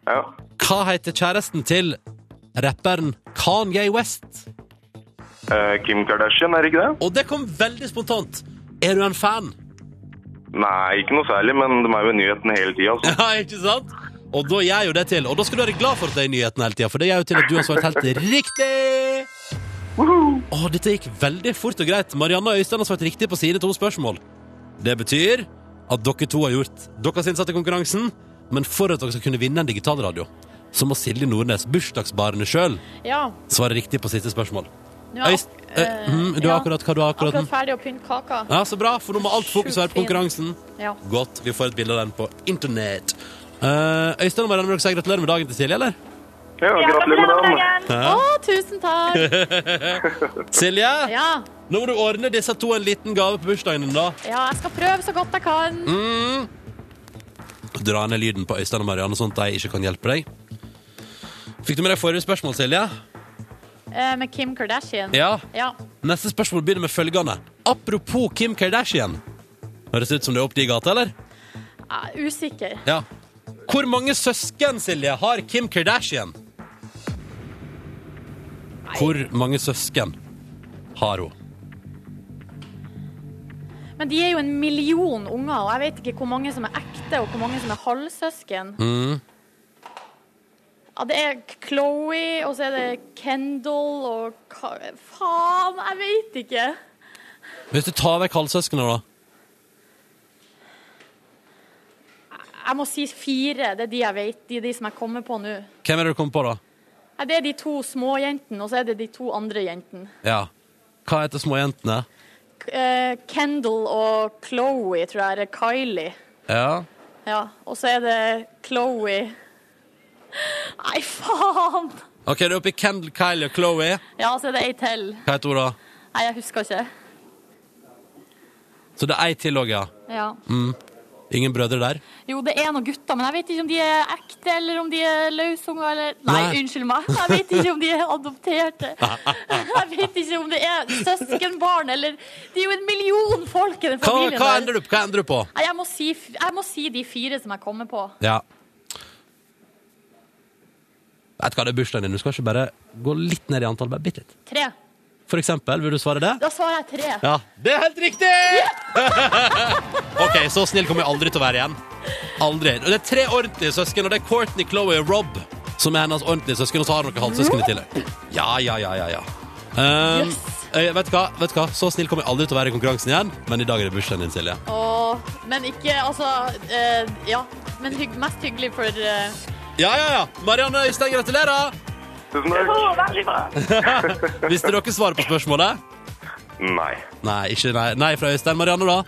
ja. Hva heter kjæresten til rapperen Kanye West? Eh, Kim Kardashian, er det ikke det? Og det kom veldig spontant. Er du en fan? Nei, ikke noe særlig, men de er jo i nyheten hele tida. Altså. Ja, ikke sant? Og da gjør jo det til. Og da skal du være glad for at det er nyheten hele tida, for det gjør jo til at du har svart helt riktig. Å, dette gikk veldig fort og greit. Marianne og Øystein har svart riktig på sine to spørsmål. Det betyr at dere to har gjort deres innsatte i konkurransen, men for at dere skal kunne vinne en digitalradio, så må Silje Nordnes, bursdagsbarnet sjøl, Ja. svare riktig på siste spørsmål. Nå er jeg Øyst- ak- eh, mhm, du ja, har akkurat hva du har akkurat, akkurat ferdig å pynte kaka. Ja, Så bra, for nå må alt fokus være Sjukt på konkurransen. Ja. Godt. Vi får et bilde av den på internett. Eh, Øystein og Marianne, vil dere si gratulerer med dagen til Silje, eller? Ja, gratulerer med dagen. Å, tusen takk! Silje, Ja. nå må du ordne disse to en liten gave på bursdagen din, da. ja, jeg skal prøve så godt jeg kan. Mm. Dra ned lyden på Øystein og Marianne, sånn at de ikke kan hjelpe deg. Fikk du med deg forrige spørsmål, Silje? Eh, Med Kim Kardashian. Ja. Ja. Neste spørsmål begynner med følgende. Apropos Kim Kardashian. Høres ut som det er opp de gata, eller? Jeg er usikker. Ja. Hvor mange søsken, Silje, har Kim Kardashian? Hvor mange søsken har hun? Men de er jo en million unger, og jeg vet ikke hvor mange som er ekte, og hvor mange som er halvsøsken. Mm. Ja, det er Chloe, og så er det Kendall og Ka Faen, jeg vet ikke. Hvis du tar vekk halvsøskene, da. Jeg må si fire. Det er de jeg vet. De, de som jeg kommer på nå. Hvem er det du kom på, da? Ja, det er de to små jentene, og så er det de to andre jentene. Ja. Hva heter småjentene? K- eh, Kendall og Chloe, tror jeg. Eller Kylie. Ja. Ja. Og så er det Chloe Nei, faen! OK, det er oppi Kendal, Kylie og Chloé. Ja, så er det ei til. Hva heter hun, da? Nei, jeg husker ikke. Så det er ei til òg, ja. Ja. Ingen brødre der? Jo, det er noen gutter, men jeg vet ikke om de er ekte, eller om de er løsunger, eller Nei, Nei. unnskyld meg. Jeg vet ikke om de er adopterte. Jeg vet ikke om det er søskenbarn, eller Det er jo en million folk i den Hva, familien. hva endrer der. du på? Hva endrer du på? Nei, jeg, må si, f- jeg må si de fire som jeg kommer på. Ja. Vet du hva, det er bursdagen din. Du skal ikke bare gå litt ned i antall, bare bitte litt. Tre. For eksempel, vil du svare det? Da svarer jeg tre. Ja, det er helt riktig! ok, så snill kommer jeg aldri til å være igjen. Aldri. Og det er tre ordentlige søsken, og det er Courtney, Chloé og Rob som er hennes ordentlige søsken, og så har dere halvsøsken i tillegg. Ja, ja, ja, ja, ja. Um, Yes. eh, vet, du hva? vet du hva? Så snill kommer jeg aldri til å være i konkurransen igjen, men i dag er det bursdagen din, Silje. Og, men ikke Altså, eh, ja. Men hygg, mest hyggelig for eh, Ja, ja, ja. Marianne Øystein, gratulerer! Tusen takk. veldig bra. Visste dere svaret på spørsmålet? Nei. Nei, ikke nei. Nei fra Øystein. Marianne, da?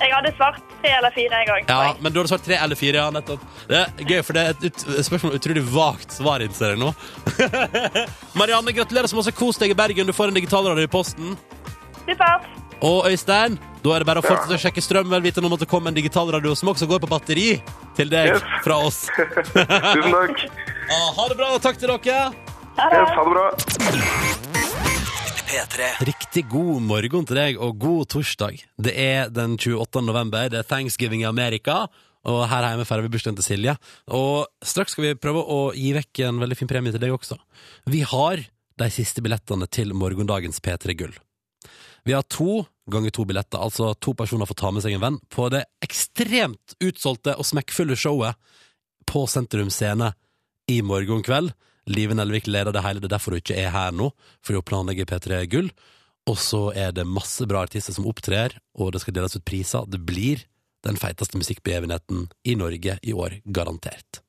Jeg hadde svart tre eller fire en gang. Ja, men du hadde svart tre eller fire, ja, nettopp. Det er gøy, for det er et ut spørsmål med utrolig vagt svar, innser jeg nå. Marianne, gratulerer så masse. Kos deg i Bergen. Du får en digitalradio i posten. Supert. Og Øystein, da er det bare å fortsette å sjekke strøm, vel vitende om at det kommer en digitalradio som også går på batteri til deg Yes. fra oss. Tusen takk. Ah, ha det bra, og takk til dere. Yes, ha det bra. P3. Riktig god morgen til deg, og god torsdag. Det er den 28. november, det er Thanksgiving i Amerika, og her hjemme feirer vi bursdagen til Silje. Og straks skal vi prøve å gi vekk en veldig fin premie til deg også. Vi har de siste billettene til morgendagens P3 Gull. Vi har to ganger to billetter, altså to personer får ta med seg en venn, på det ekstremt utsolgte og smekkfulle showet på Sentrum Scene i morgen kveld. Live Nelvik leder det hele, det er derfor hun ikke er her nå, for hun planlegger P3 Gull. Og så er det masse bra artister som opptrer, og det skal deles ut priser. Det blir den feiteste musikkbegivenheten i Norge i år, garantert.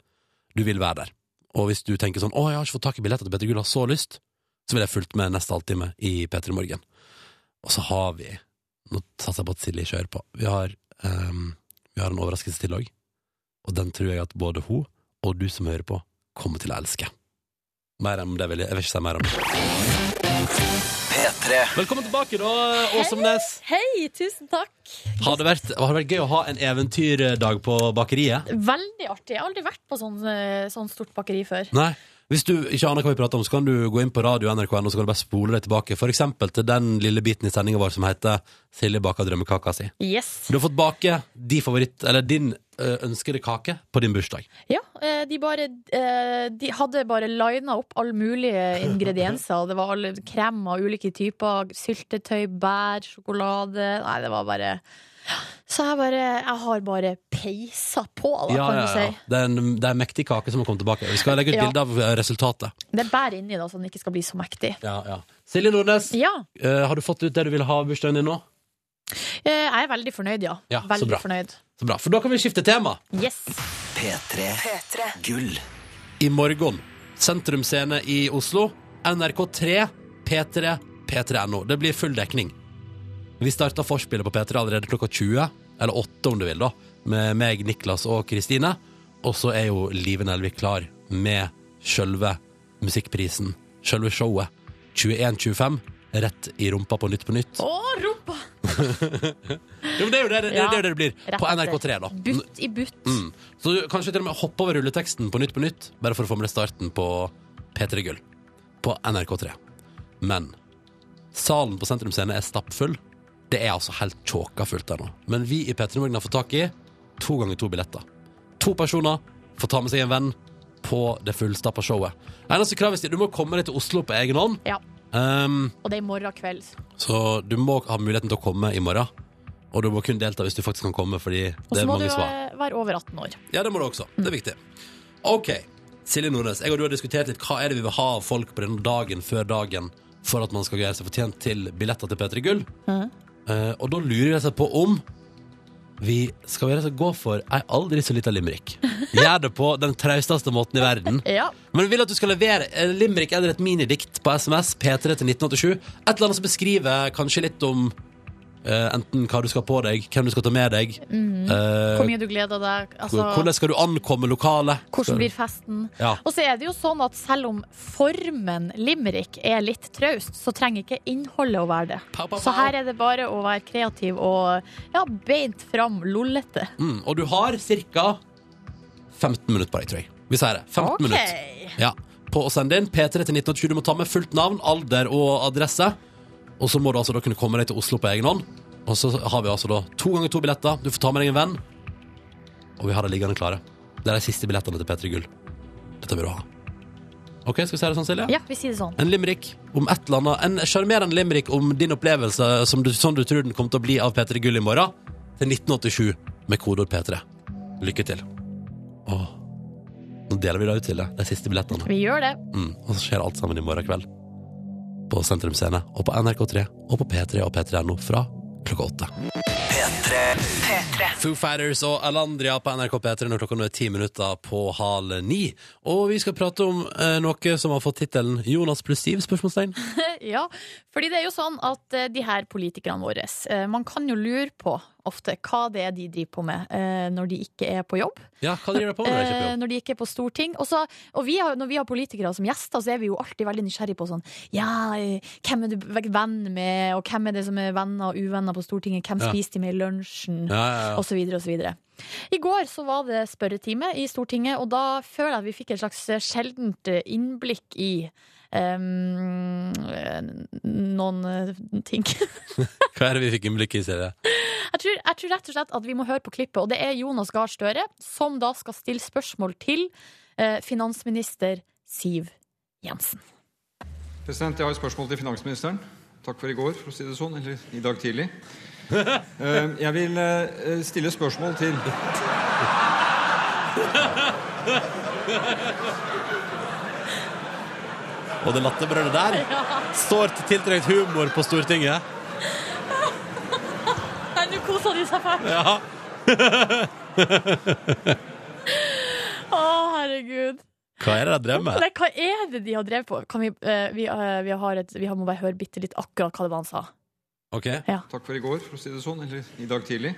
Du vil være der. Og hvis du tenker sånn 'Å, jeg har ikke fått tak i billetter til P3 Gull, jeg har så lyst', så vil jeg fulgt med neste halvtime i P3 Morgen. Og så har vi Nå satser jeg på at Silje kjører på. Vi har, ehm, vi har en overraskelse til òg, og den tror jeg at både hun og du som hører på, kommer til å elske. Mer om det vil jeg, jeg vil ikke si mer om det. P3. Velkommen tilbake, da, Åsemnes. Hei, tusen takk. Har det, vært, har det vært gøy å ha en eventyrdag på bakeriet? Veldig artig. Jeg har aldri vært på sånn, eh, sånn stort bakeri før. Nei. Hvis du ikke aner hva vi prater om, så kan du gå inn på radio NRK.no og så kan du bare spole deg tilbake. For eksempel til den lille biten i sendinga vår som heter 'Silje baker drømmekaka si'. Yes. Du har fått bake din favoritt, eller din ø, ønskede kake på din bursdag. Ja, eh, de, bare, eh, de hadde bare lina opp alle mulige ingredienser. Det var alle krem av ulike typer. Syltetøy, bær, sjokolade. Nei, det var bare Så jeg bare Jeg har bare peisa på, da, kan du si. Det er en, det er en mektig kake som har kommet tilbake. Vi skal legge ut Ja. bilde av ø, resultatet. Det er bær inni, da, så den ikke skal bli så mektig. Silje Nordnes, Ja. ø, Eh, har du fått ut det du vil ha av bursdagen din nå? eh, Jeg er veldig fornøyd, ja. Ja, så veldig bra. fornøyd. Så bra, for da kan vi skifte tema. Yes. P3. Gull. i morgen. Sentrum Scene i Oslo. NRK3, P3, P3.no. Det blir full dekning. Vi starter forspillet på P3 allerede klokka 20, eller 8 om du vil, da, med meg, Niklas og Kristine. Og så er jo Live Nelvik klar med sjølve musikkprisen, sjølve showet. 21.25, rett i rumpa på Nytt på Nytt. Å, rumpa! Jo, men det er jo det det, det, er jo det, det blir. Rett På etter. NRK3, da. Butt i butt. Mm. Så du kanskje til og med hoppe over rulleteksten på Nytt på Nytt, bare for å få med deg starten på P3 Gull på NRK3. Men salen på Sentrum Scene er stappfull. Det er altså helt tjåka fullt der nå. Men vi i P3 Morgen har fått tak i to ganger to billetter. To personer får ta med seg en venn på det fullstappa showet. Eneste krav er at du må komme deg til Oslo på egen hånd. Ja. Um, Og det er i morgen kveld. så du må ha muligheten til å komme i morgen. Og du må kun delta hvis du faktisk kan komme, fordi det Og så er må du mange svar. eh, være over 18 år. Ja, det må du også. Det er viktig. Ok, Silje Nordnes, jeg og du har diskutert litt hva er det vi vil ha av folk på denne dagen før dagen for at man skal gjøre seg fortjent til billetter til P3 Gull. Eh, og da lurer jeg seg på om vi skal gjøre oss gå for ei aldri så lita limerick. Gjør det på den trausteste måten i verden. Ja. Men vi vil at du skal levere en limerick eller et minidikt på SMS P3 til 1987. Et eller annet som beskriver kanskje litt om eh, enten hva du skal ha på deg, hvem du skal ta med deg, eh, Hvor mye du gleder deg. Altså, hvordan skal du ankomme lokalet? hvordan blir festen? Ja. Og så er det jo sånn at selv om formen limerick er litt traust, så trenger ikke innholdet å være det. Pow, pow, Så her er det bare å være kreativ og ja, beint fram, lollete. Mm, og du har ca. 15 minutter på deg, tror jeg. Vi sier det. 15 Ok. minutter. Ja. På å sende inn P3 til 1987. Du må ta med fullt navn, alder og adresse. Og så må du altså da kunne komme deg til Oslo på egen hånd. Og så har vi altså da to ganger to billetter. Du får ta med deg en venn. Og vi har det liggende klare. Det er de siste billettene til P3 Gull. Dette vil du ha. OK, skal vi si det sånn, Silje? Ja, vi sier det sånn. En limerick om et eller annet. En sjarmerende limerick om din opplevelse som du, sånn du tror den kommer til å bli av P3 Gull i morgen. Til 1987 med kodeord P3. Lykke til. Åh. Nå deler vi det ut til deg, de siste billettene. Vi gjør det. Mm. Og så skjer alt sammen i morgen kveld. På Sentrum Scene og på NRK3 og på P3 og P3.no fra klokka åtte. Foo Fighters og Alandria på NRK P3 når klokka nå er ti minutter på halv ni. Og vi skal prate om eh, noe som har fått tittelen Jonas pluss Siv? spørsmålstegn. Ja, fordi det er jo sånn at eh, de her politikerne våre, eh, man kan jo lure på ofte hva det er de driver på med eh, når de ikke er på jobb. Ja, hva driver de på med? når de er Eh, ikke på jobb? når de ikke er på storting. Og, så, og vi har, når vi har politikere som gjester, så er vi jo alltid veldig nysgjerrige på sånn Ja, eh, hvem er du venn med, og hvem er det som er venner og uvenner på Stortinget? Hvem Ja. spiste de med i lunsjen? Ja, ja, ja. Og så videre og så videre. I går så var det spørretime i Stortinget, og da føler jeg at vi fikk et slags eh, sjeldent innblikk i eh, noen eh, ting. Hva er det vi fikk innblikk i, Silje? Jeg tror, jeg tror rett og slett at vi må høre på klippet, og det er Jonas Gahr Støre som da skal stille spørsmål til eh, finansminister Siv Jensen. President, Jeg har et spørsmål til finansministeren. Takk for i går, for å si det sånn. Eller i dag tidlig. Eh, Jeg vil eh, stille spørsmål til Og det latterbrølet der står til tiltrekt humor på Stortinget. Nei, nå koser de seg fælt! Ja. Å, herregud. Hva er det de drev med? Nei, hva er det de har drevet på? Kan vi, eh, vi, eh, vi, har et, vi må bare høre bitte litt akkurat hva det var han sa. Ok, Takk for i går, for å si det sånn. Eller i dag tidlig.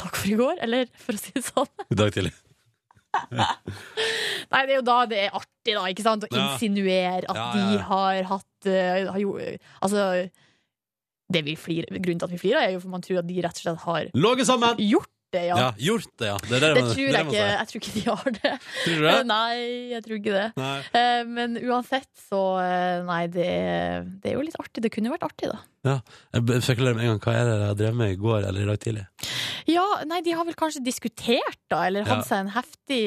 Takk for i går, eller for å si det sånn. i dag tidlig. Nei, det er jo da det er artig, da, ikke sant? Å Ja. insinuere at Ja, ja, ja. de har hatt eh, har jo, Altså, det vi flir, grunnen til at vi flirer, er jo for man tror at de rett og slett har Låget sammen! gjort det, ja. Ja, gjort det, ja. Det, er Det man- tror er jeg man ikke. sier. Jeg tror ikke de har det. Tror du det? Nei, jeg tror ikke det. Nei. Eh, Men uansett, så eh, Nei, det, er- det er jo litt artig. Det kunne jo vært artig, da. Jeg b- spekulerer med en gang hva er det jeg drev med i går eller i dag tidlig. Ja, nei, de har vel kanskje diskutert, da, eller hatt Ja. seg en heftig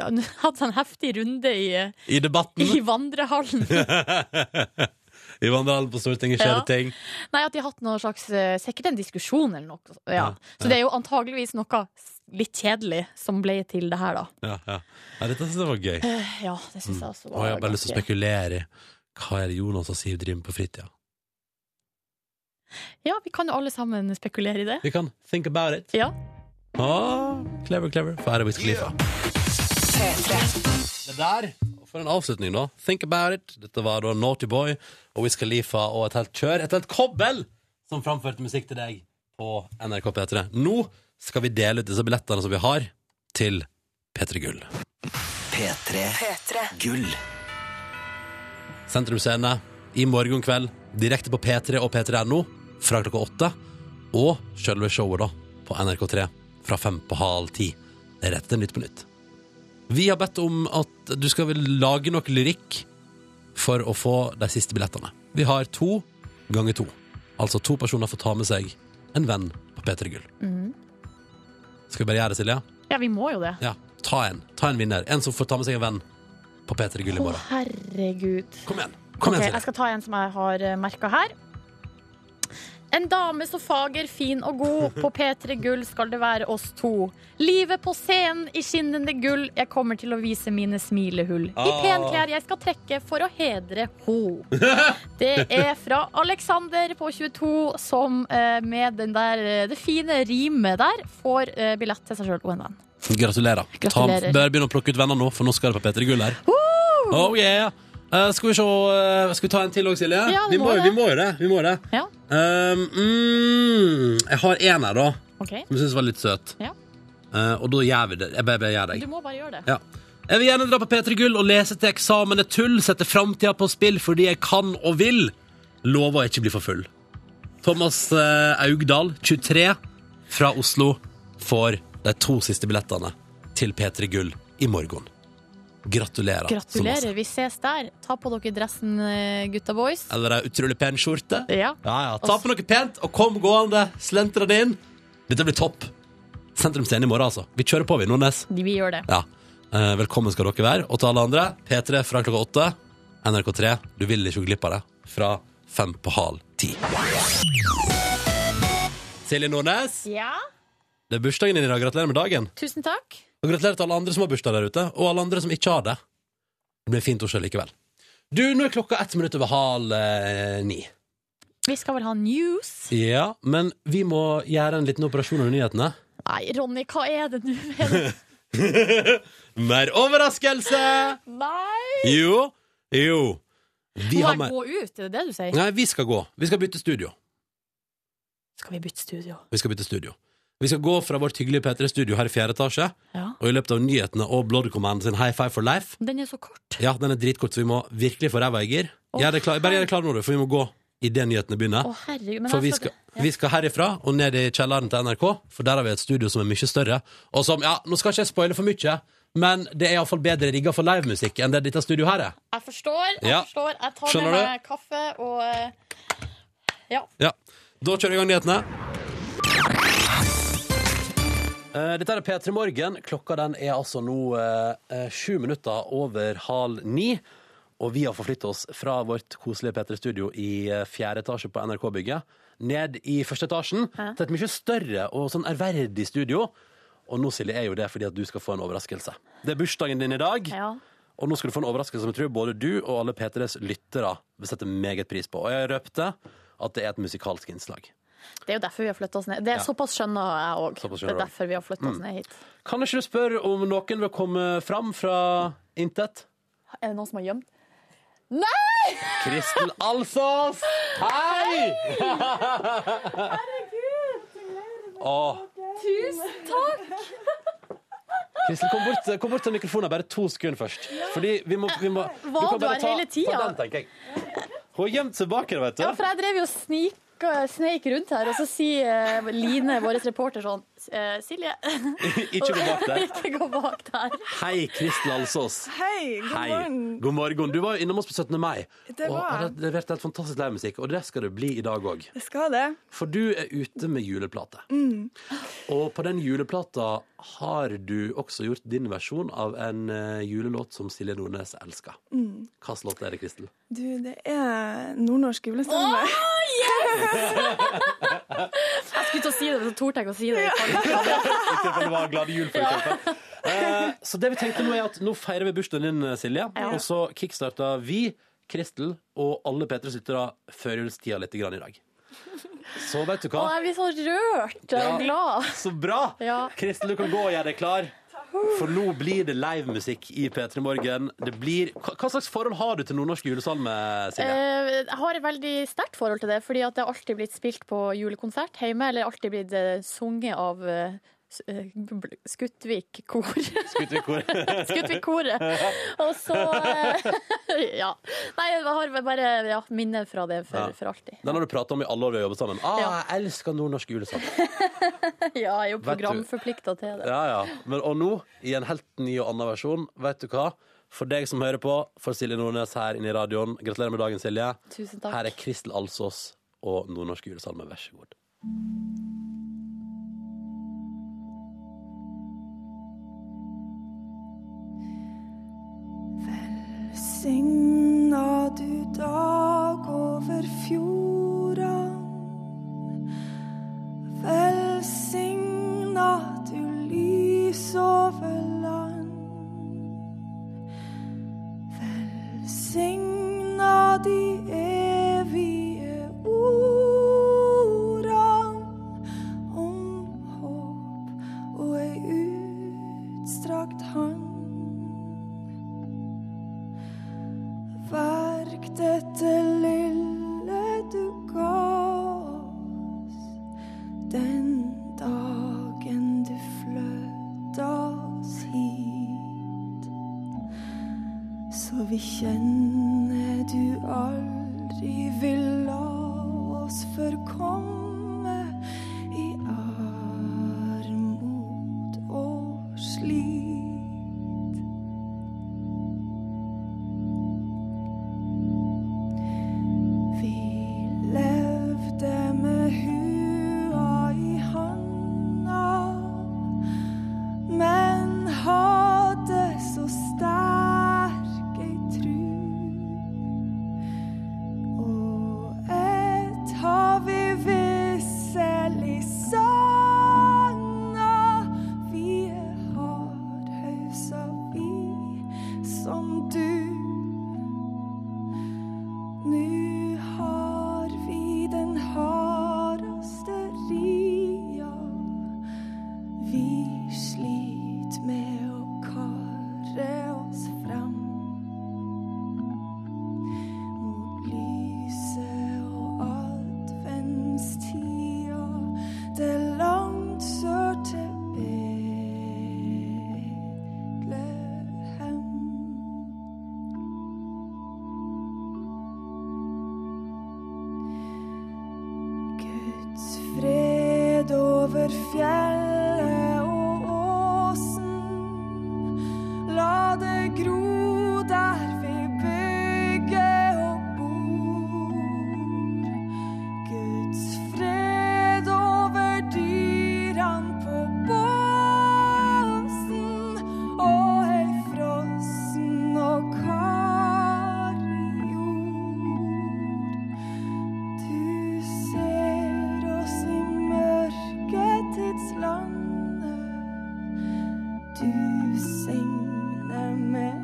ja, Hatt seg en heftig runde i, I debatten i vandrehallen. I vandrehallen på Stortinget skjer Ja. det ting. Nei, at de har hatt noe slags eh, Sikkert en diskusjon eller noe. Ja. Ja, ja. Så det er jo antageligvis noe s- litt kjedelig som ble til det her, da. Ja, ja. ja dette syns jeg var gøy. Eh, Ja, det syns jeg også Og var jeg har bare lyst til Mm. å ganske- spekulere i hva er det Jonas og Siv driver med på fritida. Ja, vi kan jo alle sammen spekulere i det. Vi kan think about it. Ja. Ah, clever, clever. For her er Wiz Khalifa. Det der, for en avslutning, da. Think about it. Dette var da Naughty Boy og Wiz Khalifa og et helt kjør, et helt kobbel, som framførte musikk til deg på NRK P3. Nå skal vi dele ut disse billettene som vi har, til P3 Gull. P3. Gull. Sentrum Scene i morgen kveld, direkte på P3 og P3.no fra klokka åtte. Og selve showet, da, på NRK3 fra fem på halv ti. Det er rett til Nytt på Nytt. Vi har bedt om at du skal vel lage nok lyrikk for å få de siste billettene. Vi har to ganger to. Altså to personer får ta med seg en venn på P3 Gull. Mhm. Skal vi bare gjøre det, Silje? Ja, vi må jo det. Ja. Ta en. Ta en vinner. En som får ta med seg en venn på P3 Gull i Å, morgen. herregud. Kom igjen. Kom Ok, igjen, Eh, jeg Silje. skal ta en som jeg har merka her. En dame så fager, fin og god. På P3 Gull skal det være oss to. Livet på scenen i skinnende gull. Jeg kommer til å vise mine smilehull. I Ah. penklær jeg skal trekke for å hedre ho. Det er fra Alexander på 22 som eh, med den der, eh, det fine rimet der får eh, billett til seg sjøl og en venn. Gratulerer. Ta, Gratulerer. bør begynne å plukke ut venner nå, for nå skal det på P3 Gull her. Oh, yeah. Eh, skal vi se eh, Skal vi ta en til òg, Silje? Ja, vi, vi må, må jo- vi det. må jo det. Vi må jo det. Ja, Um, mm, jeg har en her, da, OK. som jeg syns var litt søt. Ja. Eh, og da gjør vi det. Jeg bare, bare gjør Du det. må bare gjøre det. Ja. Jeg vil gjerne dra på P3 Gull og lese til eksamen er tull, sette framtida på spill fordi jeg kan og vil. Lover å ikke bli for full. Thomas eh, Augdal, 23, fra Oslo, får de to siste billettene til P3 Gull i morgen. Gratulerer. så masse. Gratulerer. Vi ses der. Ta på dere dressen, eh, gutta boys. Eller ei utrolig pen skjorte. Ja. Ja, ja. Ta på noe pent og kom gående. Slentre det inn. Dette blir topp. Sentrum Scene i morgen, altså. Vi kjører på, vi, Nordnes. Vi gjør det. Ja. Eh, velkommen skal dere være. Og til alle andre, P3 fra klokka åtte. NRK3, du vil ikke gå glipp av det. Fra fem på halv ti. Silje Nordnes, Ja. det er bursdagen din i dag. Gratulerer med dagen. Tusen takk. Og gratulerer til alle andre som har bursdag der ute, og alle andre som ikke har det. Det blir fint å se likevel. Du, nå er klokka ett minutt over halv eh, ni. Vi skal vel ha news? Ja, men vi må gjøre en liten operasjon under nyhetene. Nei, Ronny, hva er det nå? med det? Mer overraskelse! Nei! Jo, jo. Vi Må har jeg mer gå ut? Er det det du sier? Nei, vi skal gå. Vi skal bytte studio. Skal vi bytte studio? Vi skal bytte studio. Vi skal gå fra vårt hyggelige P3-studio her i fjerde etasje, Ja. og i løpet av nyhetene og Blood Command sin High Five for Life Den er så kort. Ja, den er dritkort, så vi må virkelig få ræva i gir. Å, Gjør det klar- Bare gjør det klart nå, du, for vi må gå idet nyhetene Å, begynner. herregud. Men For vi jeg skal, vi skal herifra og ned i kjelleren til NRK, for der har vi et studio som er mye større. Og som, ja, nå skal ikke jeg spoile for mye, men det er iallfall bedre rigga for livemusikk enn det dette studioet her er. Jeg forstår. Jeg Ja. forstår. Jeg tar Skjønner med du? meg kaffe og eh, Ja, Da kjører vi i gang nyhetene. Eh, Dette er P3 Morgen. Klokka den er altså nå eh, eh, sju minutter over halv ni. Og vi har forflyttet oss fra vårt koselige P3-studio i eh, fjerde etasje på NRK-bygget ned i første etasjen til et mye større og sånn ærverdig studio. Og nå, Silje, er jo det fordi at du skal få en overraskelse. Det er bursdagen din i dag. Ja. Og nå skal du få en overraskelse som jeg tror både du og alle P3s lyttere vil sette meget pris på. Og jeg røpte at det er et musikalsk innslag. Det er jo derfor vi har flytta oss ned. Det er såpass skjønna jeg òg. Såpass skjønner Det er du. Mm. derfor vi har flytta oss ned hit. Kan ikke du spørre om noen vil komme fram fra intet? Er det noen som har gjemt? Kristel Alsås! Hei! Herregud! Tusen takk! Kristin, kom bort, kom bort til mikrofonen bare to sekunder først. Fordi vi må, vi må du Var kan du bare her ta- hele tida? Ta den, tenker jeg. Hun har gjemt seg bak her, vet du. Ja, for jeg drev jo og snik sneik rundt her, og så sier eh, Line, vår reporter, sånn eh, Silje, Ikke gå bak der. ikke gå bak der. Hei, Kristel Alsås. Hei, god Hei. morgen. God morgen. Du var jo innom oss på 17. mai. Det Og var har jeg. levert helt fantastisk livemusikk, og det skal det bli i dag òg. Jeg skal det. For du er ute med juleplate. Mm. Og på den juleplata har du også gjort din versjon av en eh, julelåt som Silje Nordnes elsker. Mm. Hvilken låt er det, Kristel? Du, det er nordnorsk julestemme. Jeg skulle til å si det, men så torde jeg ikke å si det. I tilfelle det var Glade jul, for eksempel. Eh, Så det vi tenkte nå er at nå feirer vi bursdagen din, eh, Silje. Og så kickstarta vi, Kristel og alle P3s lyttere førjulstida litt grann i dag. Så vet du Å, hva. jeg blir så rørt Ja. og glad. Så bra! Ja. Kristel, du kan gå og gjøre deg klar. For nå blir det livemusikk i P3 Morgen. Det blir... Hva hva slags forhold har du til nordnorsk julesalme, Silje? Eh, Jeg har et veldig sterkt forhold til det, fordi at det har alltid blitt spilt på julekonsert hjemme, eller alltid blitt eh, sunget av eh, s- eh, Skutvik kor. Skutt i kor. Skutvik-koret. Og så eh, Ja. Nei, jeg har bare ja, minner fra det Ja. for, for alltid. Den har du prata om i alle år vi har jobbet sammen. Ah, Ja. jeg elsker nordnorsk julesalme. Ja, jeg er jo Vet du- programforplikta til det. Ja, ja. Men, og nå, i en helt ny og annen versjon, vet du hva? For deg som hører på, for Silje Nordnes her inne i radioen, gratulerer med dagen, Silje. Tusen takk. Her er Kristel Alsås og Nordnorsk julesalme, vær så god. Signa du dag over fjordan. Velsigna du lys over land. Velsigna de evige ordan om håp og ei utstrakt hand. Verk dette lille du ga oss den dagen du fløt oss hit. Så vi kjenner du aldri vil la oss forkomme i armod og slit. Vi levde med hua i handa, men hadde så sterk ei tru. Og ett har vi visselig sanna, vi er hardhausa vi som du. Nu har vi den hardaste ria. Vi slit med å karre oss fram. Mot lyset og adventstida, det langt sør til Betlehem. Guds fred over fjellet og åsen. La det gro der vi bygger og bor. Guds fred over dyran på båsen. Og ei frossen og kald jord. Du ser oss i mørketidslandet. Du signer med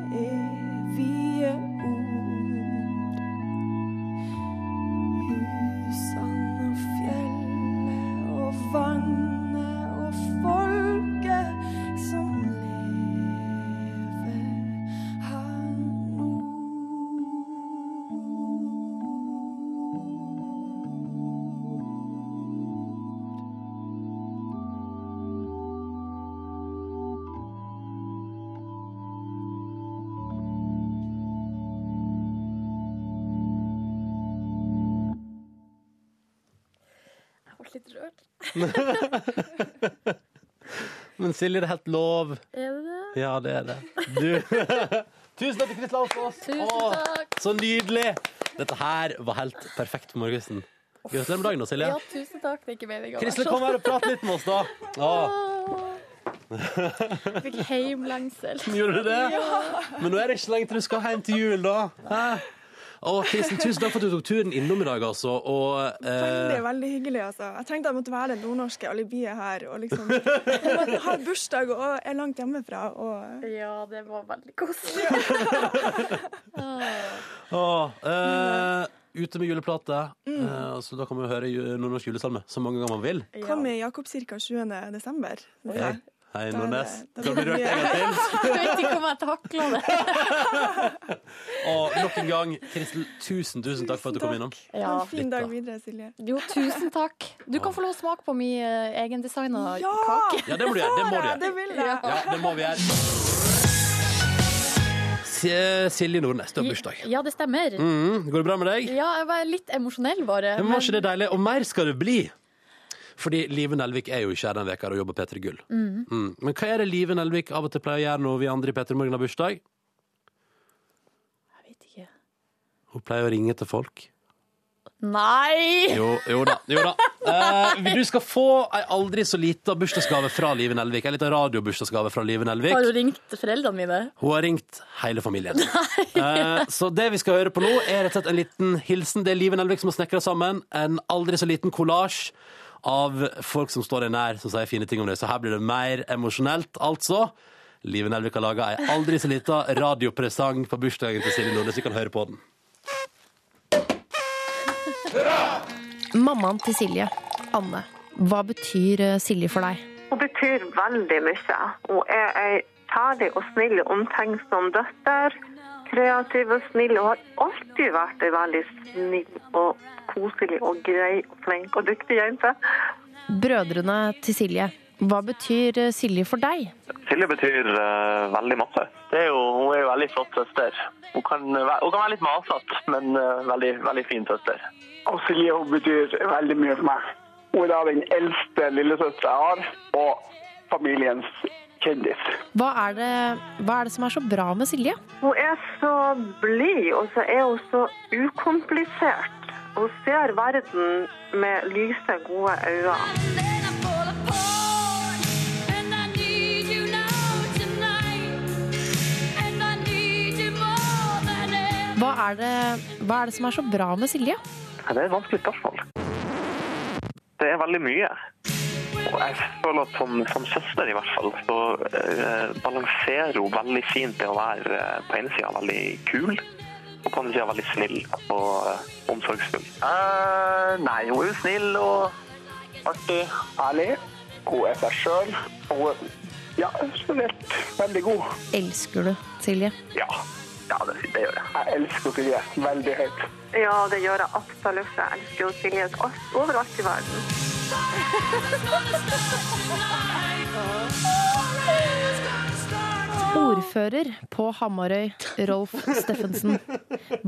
litt rørt. Men Silje, det er helt lov. Er det det? Ja, det er det. Du. Tusen takk til Chris Laufås. Tusen Åh, takk. Så nydelig. Dette her var helt perfekt for morgenen. Gratulerer med dagen, da, Silje. Ja, tusen takk. Det er ikke meningen. å være Krisle, sånn. kom her og prat litt med oss, da. Jeg Fikk heimlengsel. Gjorde du det? Ja. Men nå er det ikke lenge til du skal hjem til jul, da. Hæ? Å, Kristen, tusen takk for at du tok turen innom i dag, altså. Og, Veldig, eh, veldig hyggelig, altså. Jeg tenkte jeg måtte være det nordnorske alibiet her. Og liksom jeg har bursdag og er langt hjemmefra. Og... Ja, det var veldig koselig. å, eh, ute med juleplate. Mm. Eh, så da kan vi høre ju- nordnorsk julesalme så mange ganger man vil. Kom i Jakob ca. 20. desember. Hei, hei Nordnes. da Kan blir bli rørt det mye. en gang til. Jeg vet ikke om jeg takla det. Og nok en gang, Kristel, tusen, tusen takk for at du kom innom. Ha en fin Litt, da. dag videre, Silje. Jo, tusen takk. Du kan få lov å smake på min eh, egendesigna Ja! kake. Ja, det må du gjøre. Det må du gjøre. Det vil jeg. Ja, det må vi gjøre. Si- Silje Nordnes, du har bursdag. Ja, det stemmer. Mhm, går det bra med deg? Ja, jeg var litt emosjonell, bare. Men var ikke det deilig? Og mer skal det bli. Fordi Live Nelvik er jo ikke her den veka og jobber P3 Gull. Mm. Mm. Men hva er det Live Nelvik av og til pleier å gjøre når vi andre i P3 Morgen har bursdag? ikke. Hun pleier å ringe til folk. Nei! Jo, jo da. Jo da. Eh, du skal få ei aldri så lita bursdagsgave fra Live Nelvik. Ei lita radiobursdagsgave fra Live Nelvik. Har du ringt foreldrene mine? Hun har ringt hele familien. Eh, så det vi skal høre på nå, er rett og slett en liten hilsen. Det er Liven Elvik som har snekra sammen en aldri så liten kollasj av folk som står deg nær, som sier fine ting om deg. Så her blir det mer emosjonelt, altså. Liven Elvik har laga ei aldri så lita radiopresang på bursdagen til Silje Nordnes. Vi kan høre på den. Mammaen til Silje, Anne. Hva betyr eh, Silje for deg? Hun betyr veldig mye. Hun er ei kjærlig og snill og omtenksom døtter. Kreativ og snill. Hun har alltid vært ei veldig snill og koselig og grei og flink og dyktig jente. Brødrene til Silje. Hva betyr eh, Silje for deg? Silje betyr eh, veldig masse. Det er jo, hun er jo veldig flott søster. Hun kan, væ- hun kan være litt masete, men eh, veldig, veldig fin søster. Og Silje hun betyr veldig mye for meg. Hun er da den eldste lillesøstera jeg har, og familiens kjendis. Hva er, det, hva er det som er så bra med Silje? Hun er så blid, og så er hun så ukomplisert. Hun ser verden med lyse, gode øyne. Hva er det, hva er det som er så bra med Silje? Ja, Det er et vanskelig spørsmål. Det er veldig mye. Og jeg føler at som, som søster i hvert fall, så eh, balanserer hun veldig fint det å være eh, på ene sida veldig kul, og på andre sida veldig snill og eh, omsorgsfull. Eh, nei, hun er jo snill og artig. Ærlig, hun er seg sjøl, og hun er ja, generelt veldig god. Elsker du Silje? Ja. ja, det, gjør jeg. Jeg elsker Silje veldig høyt. Ja, det gjør jeg absolutt. Jeg elsker jo Silje alt- overalt i verden. Ordfører på Hamarøy, Rolf Steffensen.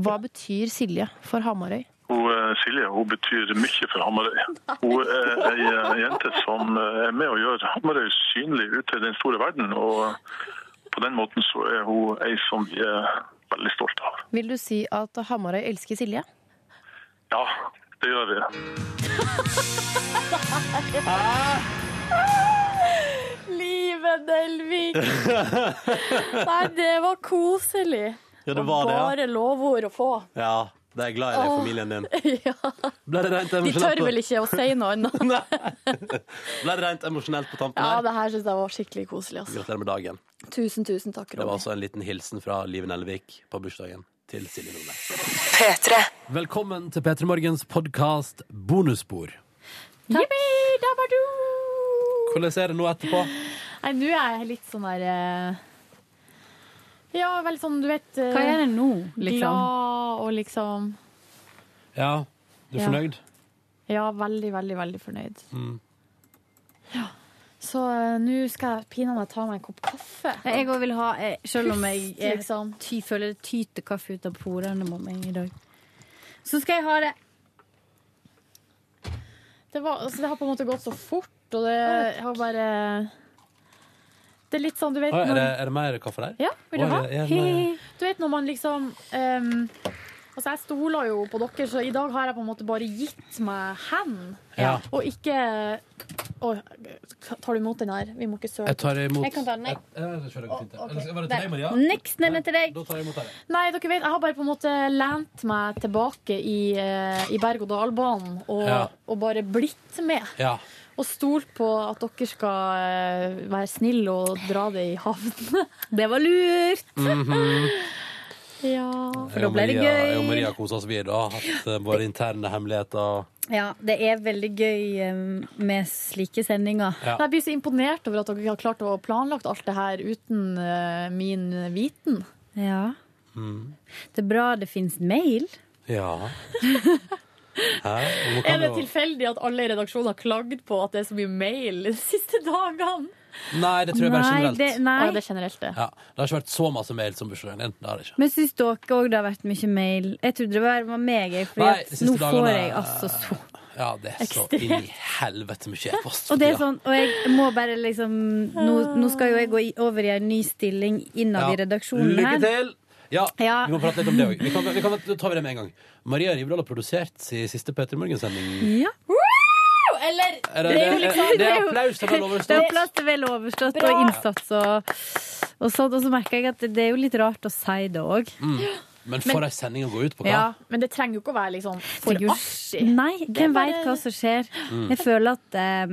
Hva betyr Silje for Hamarøy? Hun, eh, Silje hun betyr mye for Hamarøy. Hun er ei eh, jente som eh, er med å gjøre Hamarøy synlig ute i den store verden. Og på den måten så er hun ei som vi er veldig stolte av. Vil du si at Hamarøy elsker Silje? Ja, det gjør vi. Livet Delvik! Nei, det var koselig. Ja, det var det, ja. Bare lovord å få. Ja, de er glad i deg, familien din. ja. Ble det rent De emosjonelt tør på- vel ikke å si noe annet. Ble det rent emosjonelt på tampen Ja, her? det her syns jeg var skikkelig koselig. Altså. Gratulerer med dagen. Tusen, tusen takk, Det var Ronny. altså en liten hilsen fra Liv Nelvik på bursdagen til Silje Nordnes. Velkommen til P3 Morgens podkast Bonusspor. Jippi, dabadu! Hvordan er det nå etterpå? Nei, nå er jeg litt sånn der eh, Ja, veldig sånn, du vet eh, Hva er det nå, liksom? Glad og liksom Ja, du er Ja. fornøyd? Ja, veldig, veldig, veldig fornøyd. Mm. Så eh, nå skal jeg pinadø ta meg en kopp kaffe. Jeg òg vil ha eh, Selv om jeg, Puff, jeg liksom. ty, føler det tyter kaffe ut av porene på meg i dag. Så skal jeg ha det Det, var, altså, det har på en måte gått så fort, og det har bare Det er litt sånn, du vet Å, er, det, når- er det mer kaffe der? Ja, vil du Å, ha? er det- er det mer- Du vet når man liksom ehm, Altså, jeg stoler jo på dere, så i dag har jeg på en måte bare gitt meg hen, Ja. og ikke Å, tar du imot den her? Vi må ikke søle. Jeg tar imot Jeg kan ta den, jeg. Ja, ja, det tror jeg går fint, ja. Å, ok. Eller skal- Var det til Der. deg, Maria? Niks, den er til deg. Da tar jeg imot den. Nei, dere vet, jeg har bare på en måte lent meg tilbake i, eh, i berg-og-dal-banen og, Ja. og bare blitt med. Ja. Og stolt på at dere skal eh, være snille og dra det i havn. det var lurt! Ja. Jeg Mhm. og Maria- Jeg og Maria koser oss. Vi har da hatt eh, våre interne hemmeligheter. Ja, det er veldig gøy eh, med slike sendinger. Ja. Jeg blir så imponert over at dere har klart å planlagt alt det her uten eh, min viten. Ja. Det er bra det finnes mail. Ja. Hæ? Nå kan Er det jo- tilfeldig at alle i redaksjonen har klagd på at det er så mye mail de siste dagene? Nei, det tror jeg bare generelt. nei. Å, det er generelt, det. Ja, det har ikke vært så masse mail som bursdagen din. Det har det ikke. Men syns dere òg det har vært mye mail? Jeg trodde det var, var meg, jeg. For Nei, de siste nå får dagene- jeg altså så Ja, det er så Ekstremt. inn i helvete mye e-post. Og det er for tida. sånn, og jeg må bare liksom Nå, nå skal jo jeg gå i, over i en ny stilling innad Ja. i redaksjonen her. Lykke til! Ja, Ja. vi må prate litt om det òg. Vi kan, vi kan, da tar vi det med en gang. Maria Rivdal har produsert sin siste Peter Morgen-sending. Ja. Eller Er det- er- er- det er applaus til vel overstått? liksom- Det er applaus til vel overstått Bra. og innsats og, og sånn. Og så merker jeg at det, det er jo litt rart å si det òg. Mm. Men for ei sending å gå ut på, hva? Ja. Men det trenger jo ikke å være liksom Det er for jo- artig. Nei, Det er hvem bare- veit hva som skjer. Mm. Jeg føler at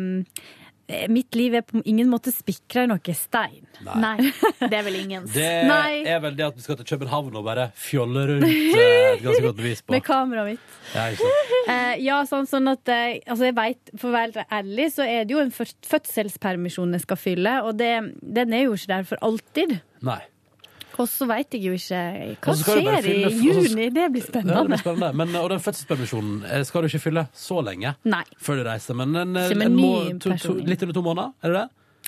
eh, mitt liv er på ingen måte spikra i noe stein. Nei. det er vel ingens. Det Nei. er vel det at vi skal til København og bare fjolle rundt. eh, Et ganske godt bevis på. Med kameraet mitt. Ja, ikke sant? Eh, ja, sånn, sånn at eh, altså jeg vet, For å være ærlig, så er det jo en fø- fødselspermisjon jeg skal fylle, og det, den er jo ikke der for alltid. Nei. Og så veit jeg jo ikke Og Hva så skal du bare skjer i fylle f- og så juni? Det blir Ja, det spennende. blir spennende. Men, eh, og den fødselspermisjonen eh, skal du ikke fylle så lenge Nei. før du reiser. Men en, eh, Som en en må, ny to, to, person. litt under to måneder, er det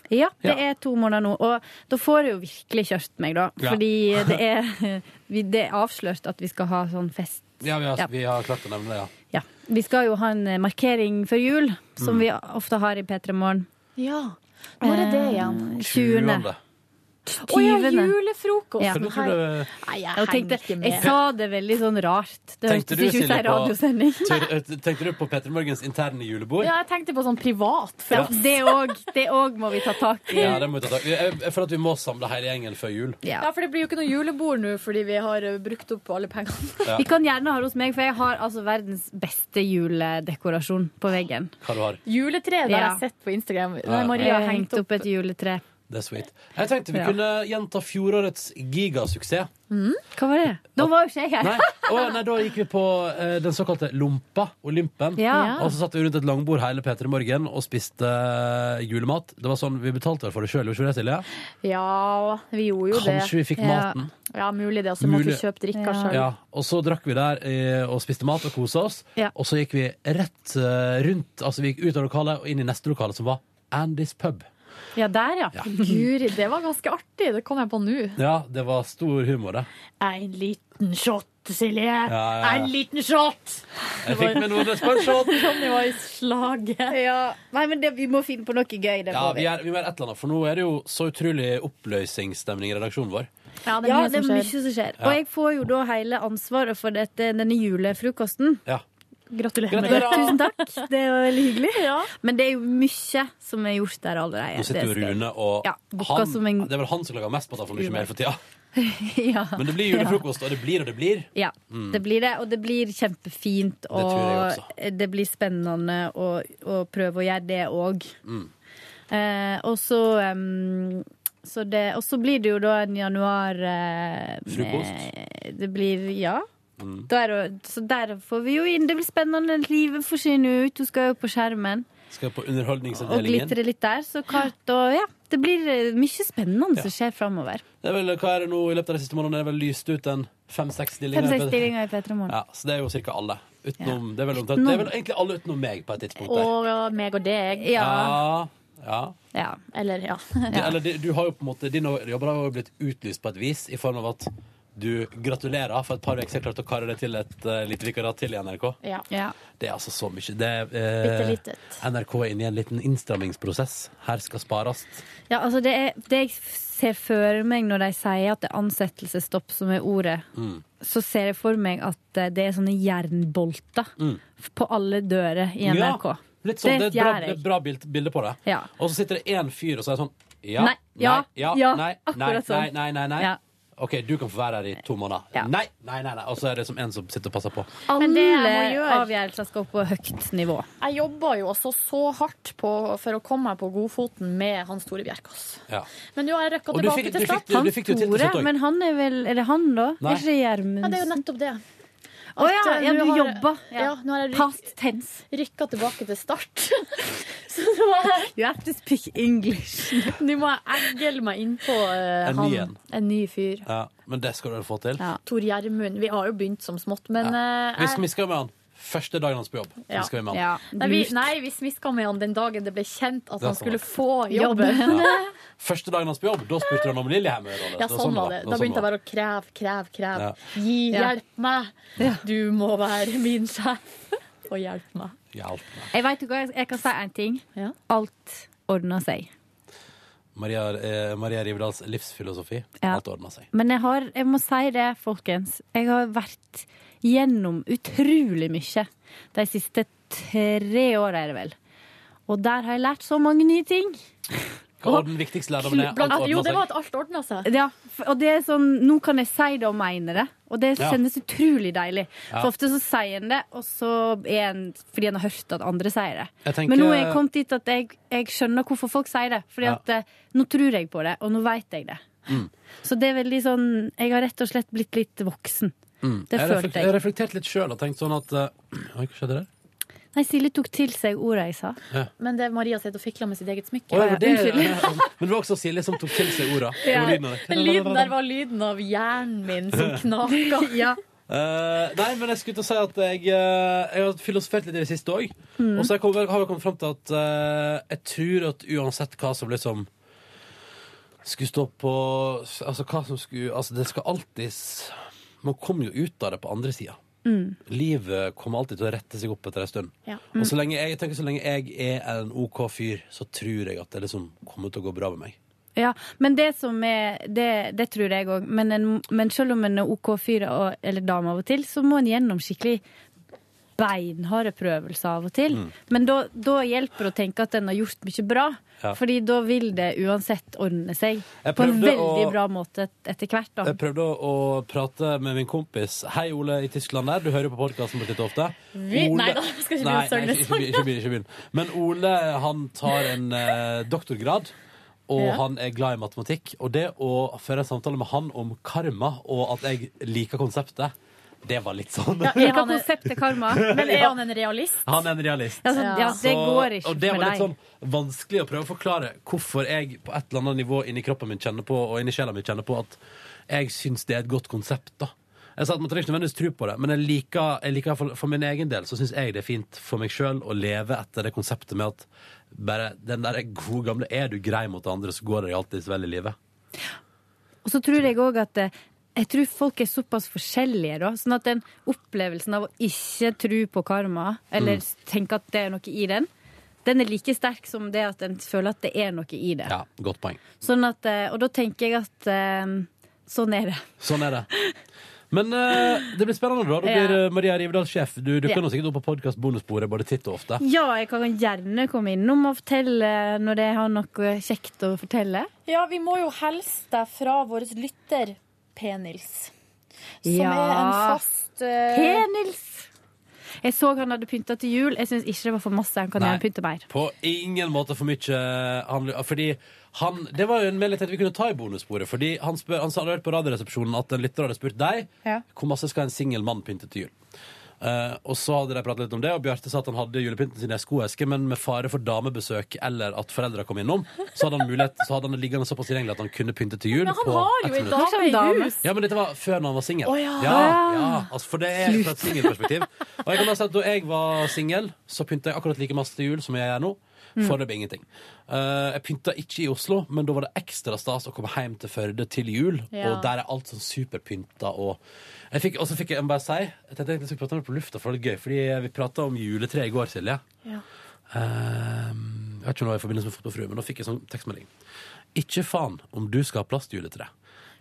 det? Ja, det Ja. er to måneder nå, og da får jeg jo virkelig kjørt meg, da. Ja. Fordi det er, vi- det er avslørt at vi skal ha sånn fest. Ja, vi har, Ja. Vi har klart å nevne det, ja. Ja. Vi skal jo ha en eh, markering før jul, som Mm. vi ofte har i P3 Morgen. Ja. Når er det igjen? Eh, 20. Å ja, 20.. julefrokost! Ja. Her- Nei, jeg jeg, tenkte, henger ikke med. jeg sa det veldig sånn rart. Det Tenkte hørtes du, ikke ut som Silje, en på, radiosending. tur- tenkte du på Petter Morgens interne julebord? Ja, jeg tenkte på sånn privat Ja, fest. det òg. Det òg må vi ta tak i. Ja, det må vi ta tak i. Jeg, jeg føler at vi må samle hele gjengen før jul. Ja. for det blir jo ikke noe julebord nå fordi vi har eh, brukt opp alle pengene. Ja. Vi kan gjerne ha det hos meg, for jeg har altså verdens beste juledekorasjon på veggen. Hva du har. Juletreet der Ja. jeg har sett på Instagram. Ja, Nei, ja. Maria Jeg har har hengt hengt opp et juletre. Det er sweet. Jeg tenkte vi Ja. kunne gjenta fjorårets gigasuksess. Hva var det? Da var jo ikke jeg Nei. her. Å, nei, da gikk vi på eh, den såkalte lompa, olympen. Ja. Og så satt vi rundt et langbord hele Peter i morgen og spiste eh, julemat. Det var sånn, Vi betalte vel for det sjøl, gjorde vi ikke det, Silje? Ja, vi gjorde jo det. Kanskje vi fikk maten. Ja, ja mulig det. Og så måtte vi Mulig. kjøpe drikker Ja. selv og så drakk vi der eh, og spiste mat og kosa oss. Ja. Og så gikk vi rett eh, rundt, altså vi gikk ut av lokalet og inn i neste lokale, som var Andys pub. Ja, der, ja. Guri, det var ganske artig. Det kom jeg på nå. Ja, det var stor humor, det. En liten shot, Silje. ja, ja. En liten shot! Jeg fikk med noe responsshot. Ronny var i slaget. Ja. Nei, men det, vi må finne på noe gøy. Det Ja, må vi, er, vi må gjøre et eller annet, for nå er det jo så utrolig oppløsningsstemning i redaksjonen vår. Ja, det er mye som skjer. mye som skjer. Ja. Og jeg får jo da hele ansvaret for dette, denne julefrokosten. Ja. Gratulerer med det. Gratulerer. Tusen takk. Det var veldig hyggelig. Men det er jo mye som er gjort der allerede. Nå sitter Det jo skal jeg- Rune og Ja, booka han, som en- Det er vel han som klager mest på at han får mye Humor. mer for tida. ja. Men det blir julefrokost, og det blir og det blir. Ja, Mm. det blir det. Og det blir kjempefint. tror jeg Og det blir spennende å, å prøve å gjøre det òg. Mm. Eh, og så em, Mm, så det, og så blir det jo da en januar eh, Frokost. Det blir Ja. Mm. Da er det- så der får vi jo inn. Det blir spennende. Livet forsvinner jo ut. Hun skal jo på skjermen Skal på og Underholdningsavdelingen. glitre litt der. Så klart og ja. Det blir eh, mye spennende som skjer framover. Det er vel, hva er det nå i løpet av de siste månedene? Det er vel lyst ut en fem-seks stillinger? Fem-seks stillinger i P3 Morgen. Ja, så det er jo cirka alle. Utenom, det, er vel omtrent, Utenom. det er vel egentlig alle utenom meg på et tidspunkt der. meg og deg. ja. ja. Eller, ja. Det, eller, det, du har jo på en måte, Dine jobber har jo blitt utlyst på et vis, i form av at Du gratulerer for et par uker klarte å karre deg til et eh, lite vikariat til i NRK. Ja. Det er altså så mye. Det, er, Bitte eh, NRK er inne i en liten innstrammingsprosess. Her skal spares. Ja, altså det, er, det jeg ser for meg når de sier at det er ansettelsesstopp som er ordet, Mm. så ser jeg for meg at eh, det er sånne jernbolter Mm. på alle dører i NRK. Ja, litt sånn, det, er et bra, det er et bra bild, bilde på det. Ja. Og så sitter det én fyr og sier sånn ja, Nei, ja, nei, ja, ja, nei, nei, akkurat nei, sånn. nei, nei, nei. Ja. OK, du kan få være her i to måneder. Nei, nei, nei, nei. Og så er det som en som sitter og passer på. Alle Men det jeg må gjøre- avgjørelser skal opp på høyt nivå. Jeg jobba jo altså så hardt på, for å komme meg på godfoten med Hans Tore Bjerkås. Ja. Men nå har jeg røkka Og du tilbake fikk- til du fikk- start. du- du fikk det jo til til slutt også. men han er vel Er det han, da? Nei. Er ikke Gjermundsen? Ja, det er jo nettopp det. Å ja, At, eh, ja, nå du har- jobber. Ja. Ja, nå har jeg Past tense. rykka tilbake til start. Så nå må jeg, You have to speak English. nå må jeg egle meg innpå uh, En ny en. han. En ny fyr. Ja, men det skal du få til. Tor Gjermund. Vi har jo begynt som smått, men eh, Vi, skal, jeg- vi skal med han. Første dagen hans på jobb. Ja. Vi skal med han. Ja. Nei, vi, nei, vi smiska med han den dagen det ble kjent at Det er han sant. skulle få jobben. Ja. Første dagen hans på jobb, da spurte han om Lillehammer. Ja, sånn var det. Da begynte jeg bare å kreve, kreve, kreve. Ja. Gi, Ja. hjelp meg! Du må være min sjef og hjelpe meg. Hjelp meg. Jeg vet jo hva, jeg kan si én ting. Alt ordner seg. Maria, eh, Maria Rivdals livsfilosofi. Ja. Alt ordna seg. Men jeg har, jeg må si det, folkens. Jeg har vært gjennom utrolig mye de siste tre åra, er det vel. Og der har jeg lært så mange nye ting. Hva var den viktigste lærdommen? er? Alt Blant- ordnet jo, det seg. var At alt ordna seg. Ja, f- og det er sånn, Nå kan jeg si det og mene det, og det Ja. kjennes utrolig deilig. Ja. For ofte så sier en det, og så er en, fordi en har hørt at andre sier det. Jeg tenker- Men nå er jeg kommet dit at jeg, jeg skjønner hvorfor folk sier det. Fordi Ja. at eh, nå tror jeg på det, og nå veit jeg det. Mm. Så det er veldig sånn Jeg har rett og slett blitt litt voksen. Mm. Det jeg. følte reflek- jeg. Jeg reflekterte litt sjøl og tenkte sånn at eh, Oi, hva skjedde der? Nei, Silje tok til seg orda jeg sa. Ja. Men det er Maria sitter og fikler med sitt eget smykke. Å, ja, det, men det var også Silje som tok til seg orda. Ja. og lyden av det. Den lyden der var lyden av hjernen min som knaka. Eh, nei, men jeg skulle til å si at jeg, eh, jeg har filosofert litt i det siste òg. Mm. Og så har jeg kommet- har jeg kommet fram til at eh, jeg tror at uansett hva som liksom skulle stå på Altså hva som skulle Altså det skal alltids Man kommer jo ut av det på andre sida. Mm. Livet kommer alltid til å rette seg opp etter en stund. Ja. Mm. Og så lenge jeg, jeg tenker så lenge jeg er en OK fyr, så tror jeg at det liksom kommer til å gå bra med meg. Ja, men det som er Det, det tror jeg òg. Men, en- men selv om en er OK fyr og, eller dame av og til, så må en gjennom skikkelig beinharde prøvelser av og til. Mm. Men da, da hjelper det å tenke at en har gjort mye bra. Ja. Fordi da vil det uansett ordne seg Jeg på en prøvde veldig å- bra måte et- etter hvert. da. Jeg prøvde å å prate med min kompis. Hei, Ole i Tyskland der. Du hører jo på podkasten vår litt ofte. Vi- Ole- nei da, vi skal ikke Nei, begynne å nei, synge ikke, ikke, begynn, ikke begynn. Men Ole han tar en eh, doktorgrad, og Ja. han er glad i matematikk. Og det å føre en samtale med han om karma, og at jeg liker konseptet, det var litt sånn. Ja, jeg har konseptet karma. Men er han en realist? Han er en realist. Ja, så- ja, det går ikke og det med var litt deg. sånn vanskelig å prøve å forklare hvorfor jeg på et eller annet nivå inni kroppen min kjenner på, og inni sjela mi kjenner på, at jeg syns det er et godt konsept, da. Jeg sa at Man trenger ikke nødvendigvis tro på det, men jeg liker, jeg liker for, for min egen del så syns jeg det er fint for meg sjøl å leve etter det konseptet med at bare den der gode gamle Er du grei mot andre, så går det alltids vel i livet. Og så tror jeg òg at eh, jeg tror folk er såpass forskjellige, da. Sånn at den opplevelsen av å ikke tro på karma, eller Mm. tenke at det er noe i den, den er like sterk som det at en føler at det er noe i det. Ja, godt poeng. Sånn at, eh, og da tenker jeg at eh, sånn er det. Sånn er det. Men eh, det blir spennende, da. Da Ja. blir eh, Maria Rivedal sjef. Du dukker Ja. nå sikkert opp på podkast bonusbordet både titt og ofte. Ja, jeg kan gjerne komme innom og fortelle når jeg har noe kjekt å fortelle. Ja, vi må jo helse deg fra vår lytter P-Nils, som Ja. er en fast eh, P-Nils! Jeg så han hadde pynta til jul. Jeg syns ikke det var for masse. Han kan Nei. gjerne pynte mer. På ingen måte for mye. eh, Han, fordi han, det var jo en mulighet vi kunne ta i bonussporet. Fordi han, spør, han sa- hadde hørt på Radioresepsjonen at en lytter hadde spurt deg Ja. hvor masse skal en singel mann pynte til jul. Eh, og så hadde de pratet litt om det, og Bjarte sa at han hadde julepynten sin i ei skoeske, men med fare for damebesøk eller at foreldra kom innom, så hadde han mulighet Så hadde han det liggende såpass tilgjengelig at han kunne pynte til jul. Men han på har jo ett en minutt. dame i Kanskje en hus. Ja, men dette var før når han var singel. Å, ja. ja, ja, altså, for det er fra et singelperspektiv. Og jeg kan bare si at da jeg var singel, så pynta jeg akkurat like masse til jul som jeg gjør nå. Foreløpig ingenting. Eh, jeg pynta ikke i Oslo, men da var det ekstra stas å komme hjem til Førde til jul. Ja. Og der er alt sånn superpynta og jeg fikk, Og så fikk jeg, jeg må bare si Jeg tenkte jeg skulle prate om det på lufta, for det er litt gøy. Fordi vi prata om juletre i går, Silje. Ja. Ehm, jeg vet ikke om det var i forbindelse med Fotballfrue, men da fikk jeg sånn tekstmelding. Ikke faen om du skal ha plastjuletre.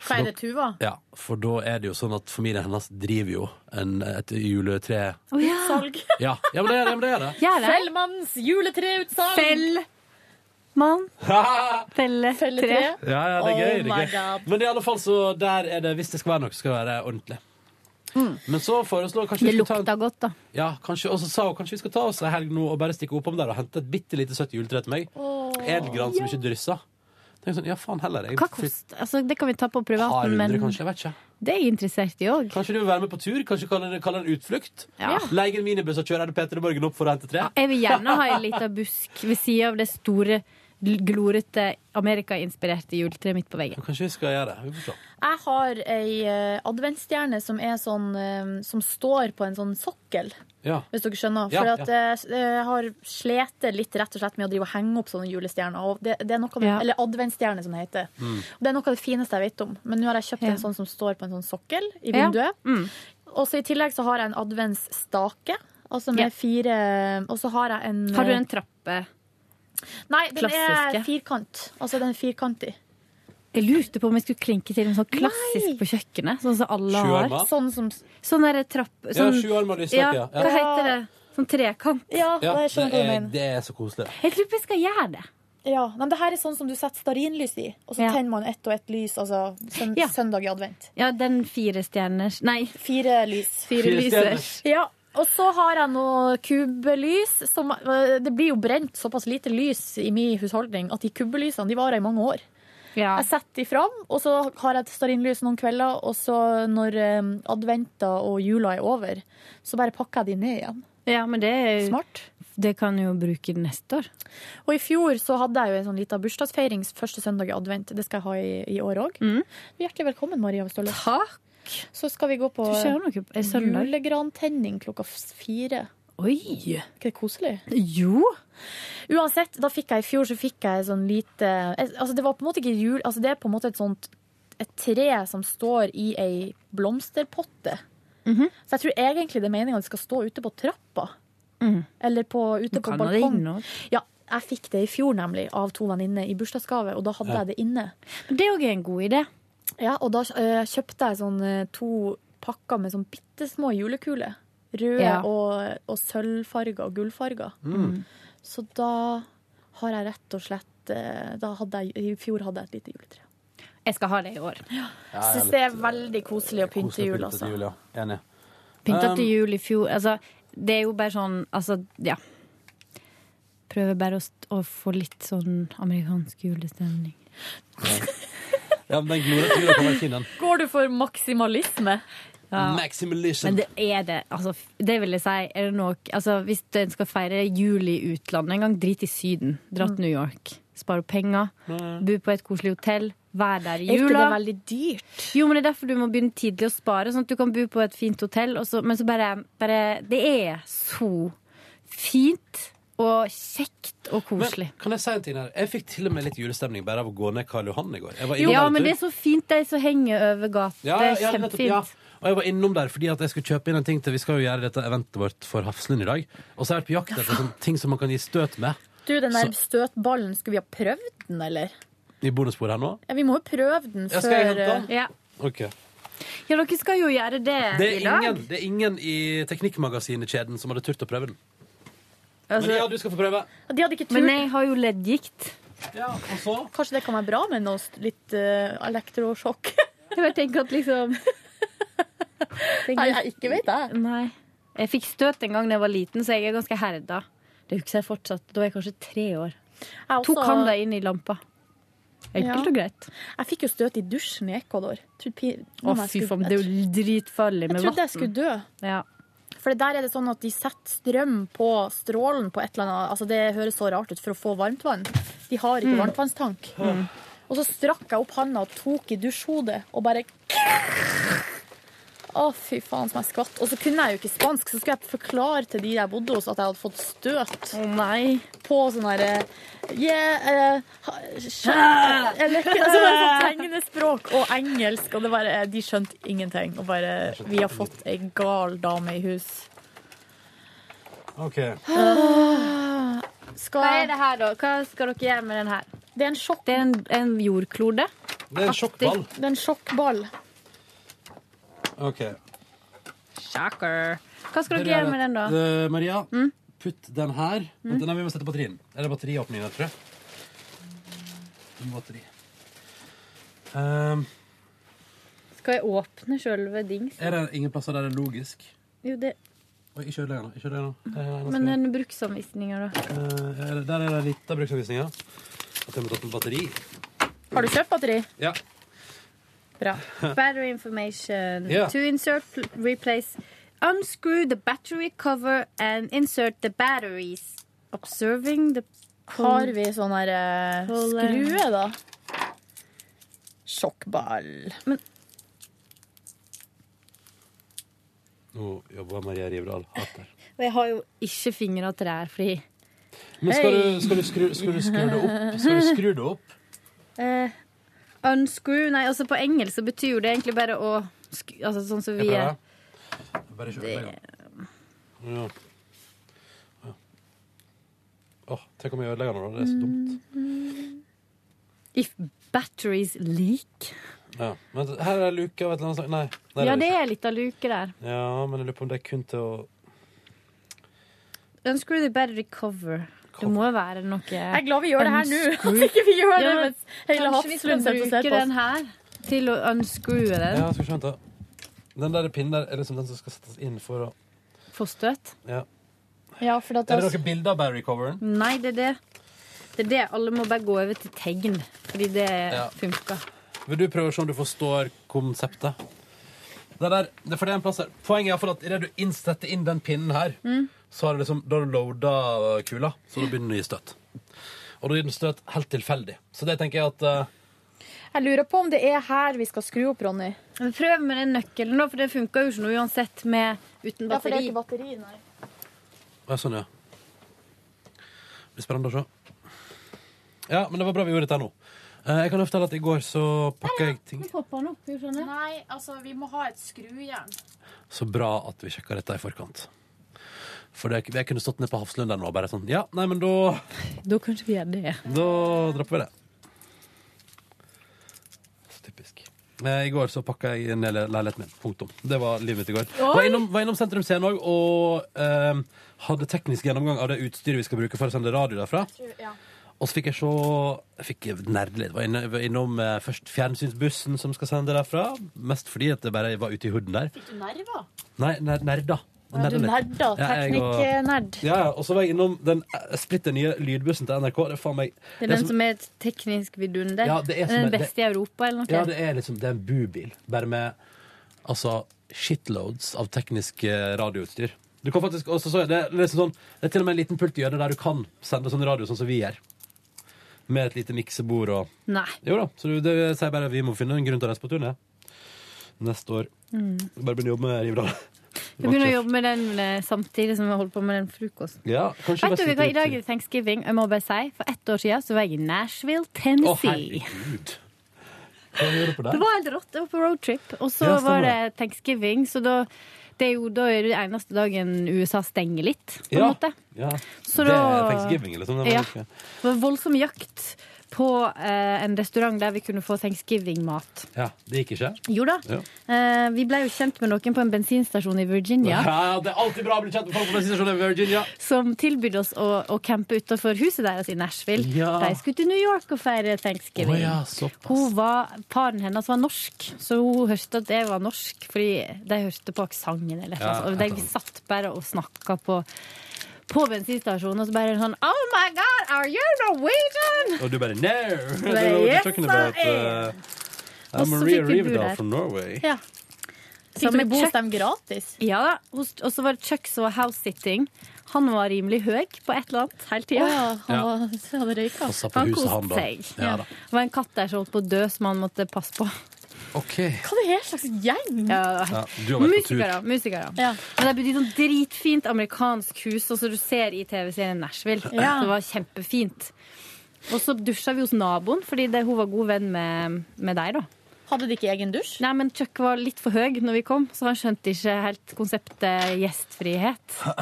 For Hva da- er det Tuva? Ja, for da er det jo sånn at familien hennes driver jo en, et juletre... Oh, ja. Salg. Ja, ja men det er det. Men det, er det. Fellmannens juletreutsalg. Fell. Mann. Felle. Felletre. Ja, ja, det er gøy. Det Oh my er gøy. God. Men i alle fall, så der er det, hvis det skal være noe, skal det være ordentlig. Men så foreslår kanskje Mm. Det vi skal ta lukta godt, da. en- ja, kanskje, Og så sa hun kanskje vi skal ta oss en helg nå og bare stikke oppom der og hente et bitte lite søtt juletre til meg. Edelgran som ikke drysser. Tenk sånn, ja faen heller. Jeg, Hva kost? Altså, det kan vi ta på Et par privaten, hundre, men kanskje, jeg vet ikke. det er jeg interessert i òg. Kanskje du vil være med på tur? Kanskje kalle det, kalle det en utflukt? Ja. Leie en minibuss og kjøre Peter i Borgen opp for å hente tre? Jeg vil gjerne ha en liten busk ved sida av det store, gl- glorete Amerika-inspirerte juletreet mitt på veggen. Kanskje vi skal gjøre det. Vi får se. Jeg har ei eh, adventsstjerne som er sånn eh, Som står på en sånn sokkel. Ja. Hvis dere skjønner. Ja, For at, ja. eh, s- eh, jeg har slitt litt rett og slett med å drive og henge opp sånne julestjerner. Og det, det er noe av det, Ja. Eller adventsstjerne, som det heter. Mm. Og Det er noe av det fineste jeg vet om. Men nå har jeg kjøpt en sånn som står på en sånn sokkel Ja. i Mm. vinduet. Og så i tillegg så har jeg en adventsstake. Altså med Ja. fire Og så har jeg en eh, Har du en trappe? Nei, den Klassiske? er firkant. Altså den er firkantig. Jeg lurte på om jeg skulle klinke til en sånn klassisk på kjøkkenet, sånn som alle har. Sjuarmer? Sånn som Sånn derre trapp... Ja, Sånn, sjuarmer lysstake, ja. ja, Hva Ja. heter det? Sånn trekant? Ja, det, er, det er så koselig. Jeg tror vi skal gjøre det. Ja, men det her er sånn som du setter stearinlys i, og så Ja. tenner man ett og ett lys, altså søn søndag i advent. Ja, den fire stjerners Nei. Fire lys. Fire lysers. Ja, og så har jeg noe kubbelys. Som, eh, det blir jo brent såpass lite lys i min husholdning at de kubbelysene de varer i mange år. Jeg Altså- setter de fram, og så har jeg et stearinlys noen kvelder, og så når eh, adventa og jula er over, så bare pakker jeg de ned igjen. Ja, men det er Smart. Det kan du jo bruke neste år. Og i fjor så hadde jeg jo en sånn liten bursdagsfeiring første søndag i advent. Det skal jeg ha i, i år òg. Hjertelig velkommen, Maria Ståle. Mm. Takk. Så skal vi gå på Du ser jo noe på- sånn- er søndag? julegrantenning klokka f- fire. Oi! Ikke det koselig? Jo. Uansett, da fikk jeg i fjor så fikk jeg sånn lite eh, Altså det var på en måte ikke jul, altså det er på en måte et sånt et tre som står i ei blomsterpotte. Mhm. Så jeg tror egentlig det er meninga at det skal stå ute på trappa. Eller på, ute Mhm. Du på kan ha det balkong. inne også. Ja, jeg fikk det i fjor nemlig av to venninner i bursdagsgave, og da hadde Ja. jeg det inne. Det er òg en god idé. Ja, og da eh, kjøpte jeg sånn eh, to pakker med sånn bitte små julekuler. Røde Ja. og, og sølvfarger og gullfarger. Mm. Så da har jeg rett og slett eh, da hadde jeg, I fjor hadde jeg et lite juletre. Jeg skal ha det i år. Ja, Jeg syns litt det er veldig koselig å pynte koselig å jul, pynte altså. til jul, ja. Enig. Pynta Um, til jul i fjor. Altså, det er jo bare sånn Altså, ja. Prøver bare å, st å få litt sånn amerikansk julestemning. Ja, men den glorete jula kan være fin, den. Går du for maksimalisme? Maximalism. Men det er det. Altså, f- det vil jeg si. Er det noe, altså, hvis en skal feire jul i utlandet en gang, drit i Syden. Dra Mm. til New York. Spare opp penger. Mm. Bo på et koselig hotell. Vær der i Er ikke jula. det veldig dyrt? Jo, men det er derfor du må begynne tidlig å spare, sånn at du kan bo på et fint hotell. Og så, men så bare, bare Det er så fint og kjekt og koselig. Kan jeg si en ting her? Jeg fikk til og med litt julestemning bare av å gå ned Karl Johan i går. Jeg var innom ja, der en men tur. det er så fint, de som henger over gata. Ja, det er ja, nettopp, kjempefint. ja. Og jeg var innom der fordi at jeg skulle kjøpe inn en ting til Vi skal jo gjøre dette eventet vårt for Hafslund i dag. Og så har jeg vært på jakt etter sånne ting som man kan gi støt med. Du, den der Så- støtballen, skulle vi ha prøvd den, eller? I bonusbordet her nå. Ja, vi må jo prøve den Ja, før skal jeg hente den? eh, Ja. Ok. ja, dere skal jo gjøre det, Det er i dag. ingen, det er ingen i Teknikkmagasinet-kjeden som hadde turt å prøve den. Altså- Men ja, du skal få prøve. De hadde ikke turt. Men jeg har jo leddgikt. Kanskje det kan være bra med noe st- litt eh, elektrosjokk? Jeg bare tenker at liksom Nei, jeg ikke vet det. Nei. Jeg fikk støt en gang da jeg var liten, så jeg er ganske herda. Det husker jeg fortsatt. Da var jeg kanskje tre år. også- Tok han deg inn i lampa. Enkelt og greit. Jeg fikk jo støt i dusjen i Ecuador. Trodde pi- Å, Om jeg fy skulle- faen, det er jo dritfarlig Jeg med vann. trodde jeg skulle dø. Ja. For der er det sånn at de setter strøm på strålen på et eller annet Altså Det høres så rart ut for å få varmt vann. De har ikke Mm. varmtvannstank. Mm. Og så strakk jeg opp handa og tok i dusjhodet og bare Å, fy faen som jeg skvatt. Og så kunne jeg jo ikke spansk, så skulle jeg forklare til de jeg bodde hos at jeg hadde fått støt. Mm. På sånn herre yeah, eh, ha- Ah! skjø- Jeg lekker altså bare Eh. sånn tegnespråk og engelsk, og det bare, de skjønte ingenting. Og bare Vi har fått ei gal dame i hus. Ok. Åh. Skal... Hva er det her, da? Hva skal dere gjøre med den her? Det er en sjokk... Det er en, en jordklode. Det er en sjokkball. Det er en sjokkball. Ok. Shocker. Hva skal Det dere er gjøre det. med den, da? Eh, Maria, putt den her. Mm. Vent, Nei, vi må sette batterien. Eller batteriåpningen, her, tror jeg. Batteri. Ehm, Skal jeg åpne sjølve dings? er det ingen plasser der det er logisk? Jo, det, Oi, ikke ødelegg den nå. Ikke ødelegg den Eh, nå. Det er den. men eh, som er- den bruksanvisninga, da? Eh, er det- der er det litt av bruksanvisninga. At jeg må ta på batteri. Har du kjøpt batteri? Ja. Bra. Battery information. Ja. To insert, pl- replace. Unscrew the battery cover and insert the batteries. Observing the Har vi sånn her eh, skrue, da? Sjokkball. Men Nå jobber Maria Rivdal hardt der. og jeg har jo ikke fingre og trær fri. Men skal du, skal du, skru, skal du skru det opp? Skal du skru det opp? Eh, unscrew Nei, altså på engelsk så betyr jo det egentlig bare å sk- Altså sånn som Jeg vi er. prøver. Jeg Bare ikke ødelegg den. Ja. Ja. Åh, tenk om jeg ødelegger den, da. Det er så dumt. If batteries leak. Ja. Men her er luke av et eller annet slag. Nei. nei Ja, er det ikke. er litt av luke der. Ja, men jeg lurer på om det er kun til å Unscrew the battery cover. Det må jo være noe Jeg er glad vi gjør det her nå. Unscrew. At ikke vi gjør det Ja, men mens hele kanskje vi skal Hafslund sitter og bruke ser på den oss. her til å unscrewe den. Ja, skal vi vente. Den der pinnen der er liksom den som skal settes inn for å Få støt. Ja. Ja, for Er det noen bilder av Barry-coveren? Nei, det er det. Det er det. Alle må bare gå over til tegn, fordi det funker. Vil du prøve å se om du forstår konseptet? Det der, det er for det er en plass her. Poenget er i hvert fall at idet du innsetter inn den pinnen her, så har du liksom, da har du loada kula, så da begynner den å gi støt. Og da gir den støt helt tilfeldig. Så det tenker jeg at eh, Jeg lurer på om det er her vi skal skru opp, Ronny. Men Prøv med den nøkkelen, da, for det funker jo ikke noe uansett med uten Ja, for det batteri. er ikke batteri, nei. Ja, sånn, ja. Det blir spennende å se. Ja, men det var bra vi gjorde dette nå. Eh, Jeg kan jo fortelle at i går så pakka jeg ting Nei, altså, vi må ha et skrujern. Så bra at vi sjekka dette i forkant. For det, jeg kunne stått ned på Hafslund der nå og bare sånn Ja, nei, men da Da kanskje vi gjør det. Da dropper vi det. Så typisk. Eh, I går så pakka jeg ned le- leiligheten min. Punktum. Det var livet mitt i går. Oi! Var innom, var innom Sentrum Scene òg og eh, hadde teknisk gjennomgang av det utstyret vi skal bruke for å sende radio derfra. Og så fikk jeg se Jeg fikk nerde litt. Var inne- var innom eh, først fjernsynsbussen som skal sende derfra. Mest fordi at det bare var ute i huden der. Fikk du nerver? Nei, ner, nerda. Ja, du Nerda litt. nerda. Ja, jeg og- Teknikk-nerd. Ja, ja. Og så var jeg innom den eh, splitter nye lydbussen til NRK. Det er faen meg Det er det er den som er et teknisk vidunder. Ja, det er som den er- det- beste i Europa, eller noe. Ja, det er liksom Det er en bubil, bare med altså, shitloads av teknisk eh, radioutstyr. Du kan faktisk også, så, er det, liksom sånn, det er til og med en liten pult i hjørnet der du kan sende sånn radio sånn som vi gjør. Med et lite miksebord og Nei. Jo da. Så du- det sier bare at vi må finne en grunn til å reise på turné neste år. Mm. Bare begynne å jobbe med Rivdal. Jeg begynner å jobbe med den eh, samtidig som jeg holder på med den frokosten. Ja, kanskje Vet bare du sitte hva, I dag ute. er det thanksgiving. Jeg må bare si, For ett år siden så var jeg i Nashville, Å, Tennessee. herregud. Hva gjør du på det der? var helt rått. Jeg var på roadtrip. Og så Ja, stemmer var det thanksgiving, så da det er jo da er det eneste dagen USA stenger litt, på en Ja. måte. Ja. Så det er da- thanksgiving, liksom. Det var Ja. ikke- Det var voldsom jakt på eh, en restaurant der vi kunne få thanksgiving-mat. ja, det gikk ikke? Jo da. Ja. Eh, vi ble jo kjent med noen på en bensinstasjon i Virginia. Ja, det er alltid bra å bli kjent med folk på bensinstasjonen i Virginia. Som tilbød oss å, å campe utenfor huset deres i Nashville. Ja. De skulle til New York og feire thanksgiving. Å ja, såpass. hun var, Faren hennes var norsk, så hun hørte at jeg var norsk, fordi de hørte på aksenten. eller et Ja, et eller eller annet. Og annet. de satt bare og snakka på, på bensinstasjonen, og så bare sånn Oh my God, are you Norwegian? Og du bare no! Well, Det var yes, talking I about, am. uh, Og så Maria fikk vi bo Rivdal der. from Norway. Ja. Fikk dere bo hos dem gratis? Ja da. hos- Og så var det Chuck som var house-sitting. Han var rimelig høy på et eller annet hele tida. Å ja, han var- hadde røyka. Han koste seg. Ja da. Det var en katt der som holdt på å dø, som han måtte passe på. Ok. Hva er det her slags gjeng? Ja, du har vært på tur. musikere. musikere. Men det er sånn dritfint amerikansk hus, og så du ser i TV-serien Nashville. Ja. Det var kjempefint. Og så dusja vi hos naboen, fordi det, hun var god venn med, med deg, da. Hadde de ikke egen dusj? Nei, men Chuck var litt for høy når vi kom, så han skjønte ikke helt konseptet gjestfrihet.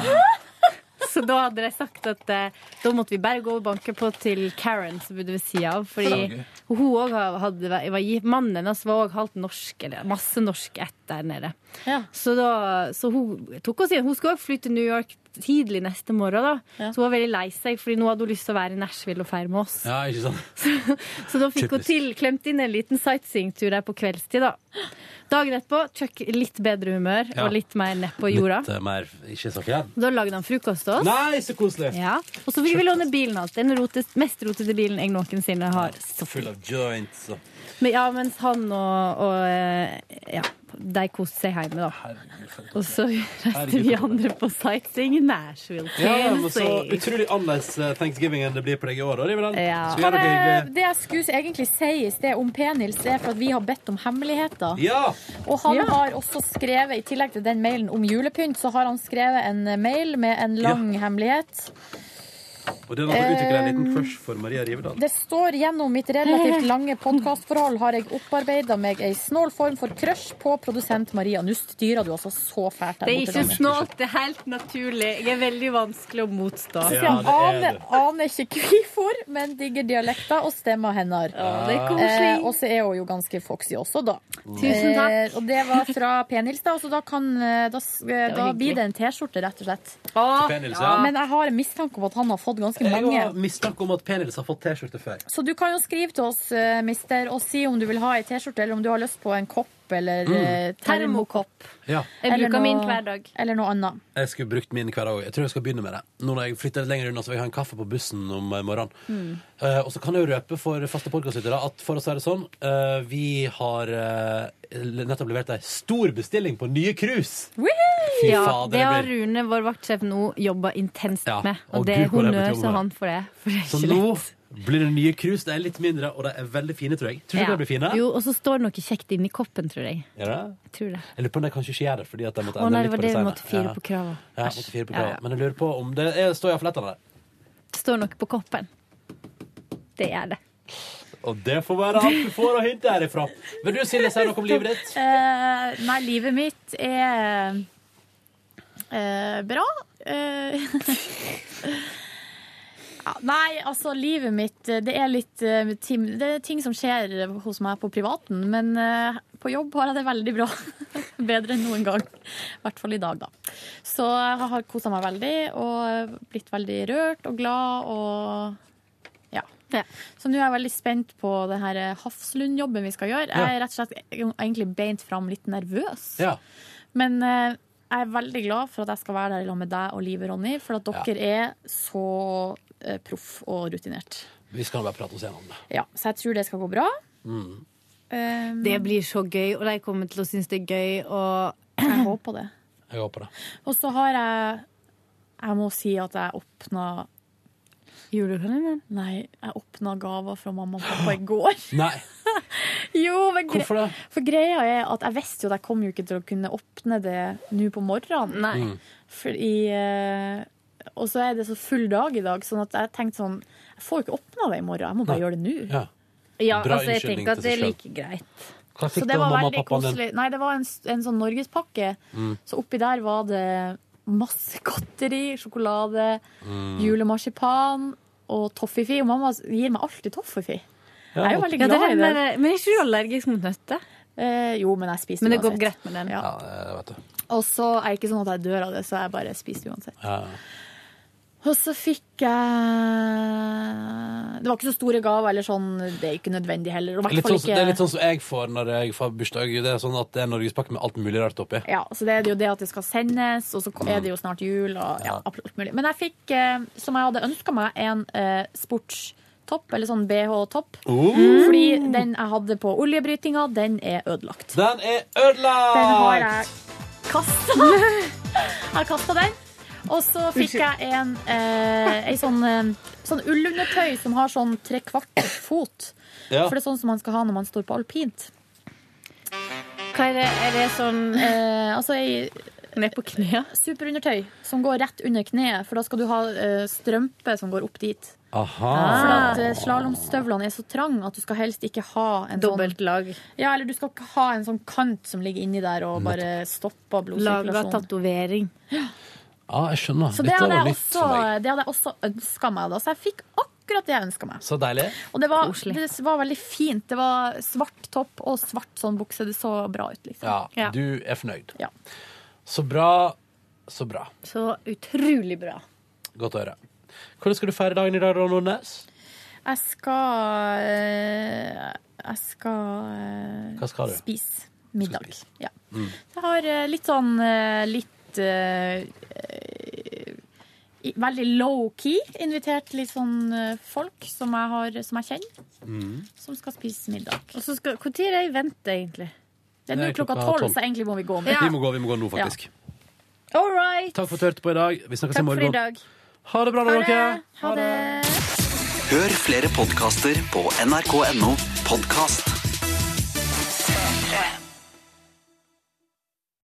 Så da hadde jeg sagt at eh, da måtte vi bare gå og banke på til Karen, som bodde ved sida av. Fordi Ja. hun òg hadde var, gi- Mannen hennes var òg halvt norsk, eller masse norsk ett der nede. Så, da, så hun tok oss igjen. Hun skulle òg fly til New York tidlig neste morgen, da. Så hun var veldig lei seg, fordi nå hadde hun lyst til å være i Nashville og feire med oss. Ja, ikke sant? Så da fikk hun Typisk. til, klemt inn en liten sightseeingtur der på kveldstid, da. Dagen etterpå, Chuck litt bedre humør Ja. og litt mer nedpå jorda. Litt eh, mer ikke så redd. Da lagde han frokost til oss. Nei, så koselig! Ja. Og så fikk vi låne bilen hans. Den rotes, mest rotete bilen jeg noensinne har. Så full av joints og Men, ja, mens han og, og eh, ja, de koste seg hjemme, da. Og så reiste vi andre på sightseeing i Nashville. Ja, men så Tennessee. utrolig annerledes eh, thanksgiving enn det blir på deg i år. da, Riveland. Ja. Så gjør dere Det, hyggelig. det jeg skulle egentlig si i sted om P-Nils, er for at vi har bedt om hemmeligheter. Ja! Og han har også skrevet, i tillegg til den mailen om julepynt, så har han skrevet en mail med en lang hemmelighet. Og det er noe å utvikle en Eh, liten crush for Maria Rivedal. Det står gjennom mitt relativt lange podkastforhold har jeg opparbeida meg ei snål form for crush på produsent Maria. Nå styrer du altså så fælt Det der er borte. ikke Ronny. snålt, det er helt naturlig. Jeg er veldig vanskelig å motstå. Så jeg aner, aner ikke hvorfor, men digger dialekter og stemmer hennes. det er koselig. og så er hun jo ganske foxy også, da. Tusen takk. Eh, og det var fra P-Nils, da, så da, kan, eh, da, s- eh, da hyggelig. blir det en T-skjorte, rett og slett. Til P-Nils, ja. Men jeg har en mistanke om at han har fått ganske Jeg mange. har mistanke om at P-Nils har fått T-skjorte før. Så du kan jo skrive til oss, eh, mister, og si om du vil ha ei T-skjorte, eller om du har lyst på en kopp eller Mm. eh, termokopp. Ja. Eller noe- dag. Eller noe annet. Jeg skulle brukt min hver dag. Jeg tror jeg skal begynne med det. Nå når jeg flytter litt lenger unna, så vil jeg ha en kaffe på bussen om eh, morgenen. Mm. Eh, og så kan jeg jo røpe for faste podkastlyttere at for å si det sånn, eh, vi har eh, nettopp levert ei stor bestilling på nye cruise! Fy Ja, fader, det har det blir- Rune, vår vaktsjef, nå jobba intenst Ja, med. og Og det Gud, er hvor det er honnør blitt til jobbet. han for det. For det er Så ikke nå lett. blir det nye cruise. De er litt mindre, og de er veldig fine, tror jeg. Tror du ikke Ja. de blir fine? Jo, og så står det noe kjekt inni koppen, tror jeg. Gjør det? Jeg tror det. Jeg lurer på om de kanskje ikke gjør det fordi at de måtte Å endre nei, det litt på var det vi måtte fire Ja. på kravet. Ja, måtte fire på Ja, kravet. ja. Men jeg lurer på om det er, står iallfall et av dem. Det står noe på koppen. Det er det. Og det får være alt du får å hente herifra. Vil du, Silje, si noe om livet ditt? Eh, nei, livet mitt er eh, bra. Eh, ja, nei, altså, livet mitt eh, Det er litt eh, tim Det er ting som skjer hos meg på privaten, men eh, på jobb har jeg det veldig bra. Bedre enn noen gang. I hvert fall i dag, da. Så jeg har kosa meg veldig og blitt veldig rørt og glad og ja. Så nå er jeg veldig spent på det her eh, Hafslund-jobben vi skal gjøre. Jeg er rett og slett egentlig beint fram litt nervøs. Ja. Men eh, jeg er veldig glad for at jeg skal være der sammen med deg og Live, Ronny, for at dere er så eh, proff og rutinert. Vi skal bare prate oss gjennom det. Ja, så jeg tror det skal gå bra. Mm. Um, Det blir så gøy, og de kommer til å synes det er gøy. Og jeg håper det. Jeg håper det. Og så har jeg Jeg må si at jeg åpna Julekalenderen? Nei, jeg åpna gaver fra mamma og pappa i går. Nei. jo, men gre Hvorfor det? For greia er at jeg visste jo at jeg kom jo ikke til å kunne åpne det nå på morgenen. Nei. Mm. Fordi eh, Og så er det så full dag i dag, sånn at jeg tenkte sånn Jeg får jo ikke åpna det i morgen, jeg må bare gjøre det nå. Ja. Ja, Bra altså, jeg unnskyldning tenker at det til er seg like greit. Hva Så fikk det du av var mamma og veldig pappaen din? koselig. Nei, det var en, s- en sånn norgespakke. Mm. Så oppi der var det masse godteri, sjokolade, Mm. julemarsipan og toffifi. Og mamma gir meg alltid toffifi. Ja, jeg er jo veldig ja, det glad er i det. Eh, den der- men er ikke du allergisk mot nøtter? jo, men jeg spiser Men det går uansett. greit med den. Ja. Jeg vet det. Og så er det ikke sånn at jeg dør av det, så jeg bare spiser uansett. Ja. Og så fikk jeg Det var ikke så store gaver, eller sånn. Det er ikke nødvendig heller. Og i hvert Litt fall sånn, ikke... det er litt sånn som jeg får når jeg får bursdag. Det er sånn at det er norgespakke med alt mulig rart oppi. Ja, så det er det jo det at det skal sendes, og så er det jo snart jul og ja, alt mulig. Men jeg fikk, eh, som jeg hadde ønska meg, en eh, sportstopp, eller sånn BH-topp. Oh. Fordi den jeg hadde på oljebrytinga, den er ødelagt. Den er ødelagt! Den har jeg kasta. Jeg kasta den. Og så fikk jeg en, eh, ei sånn, eh, sånn ullundertøy som har sånn trekvart fot. Ja. For det er sånn som man skal ha når man står på alpint. Hva er det? Er det sånn eh, Altså ei Ned på kneet? Superundertøy som går rett under kneet, for da skal du ha eh, strømpe som går opp dit. Aha. For at eh, slalåmstøvlene er så trange at du skal helst ikke ha en Dobbelt lag. Ja, eller du skal ikke ha en sånn kant som ligger inni der og bare stopper Laga blodsirkulasjonen. tatovering. Ja, jeg skjønner. Så det Dette hadde var jeg nytt også, for meg. det hadde jeg også ønska meg da, så jeg fikk akkurat det jeg ønska meg. Så deilig. Og det var, det var veldig fint. Det var svart topp og svart sånn bukse. Det så bra ut, liksom. Ja, Ja. du er fornøyd. Ja. Så bra. Så bra. Så utrolig bra. Godt å høre. Hvordan skal du feire dagen i dag, Ron Nordnes? Jeg skal eh, Jeg skal, eh, Hva skal du? spise middag. Ja. Mm. Så jeg har eh, litt sånn eh, litt eh, i- Veldig low-key invitert litt sånn eh, folk som jeg, har, som jeg kjenner, Mm. som skal spise middag. Og så skal, Når er det jeg venter, egentlig? Det er nå klokka tolv, så egentlig må vi gå nå. Vi må gå, vi må gå nå, faktisk. All right. Takk for at du hørte på i dag. Vi snakkes i Takk for i morgen. dag. Ha det bra, da, dere. Hør flere podkaster på nrk.no podkast.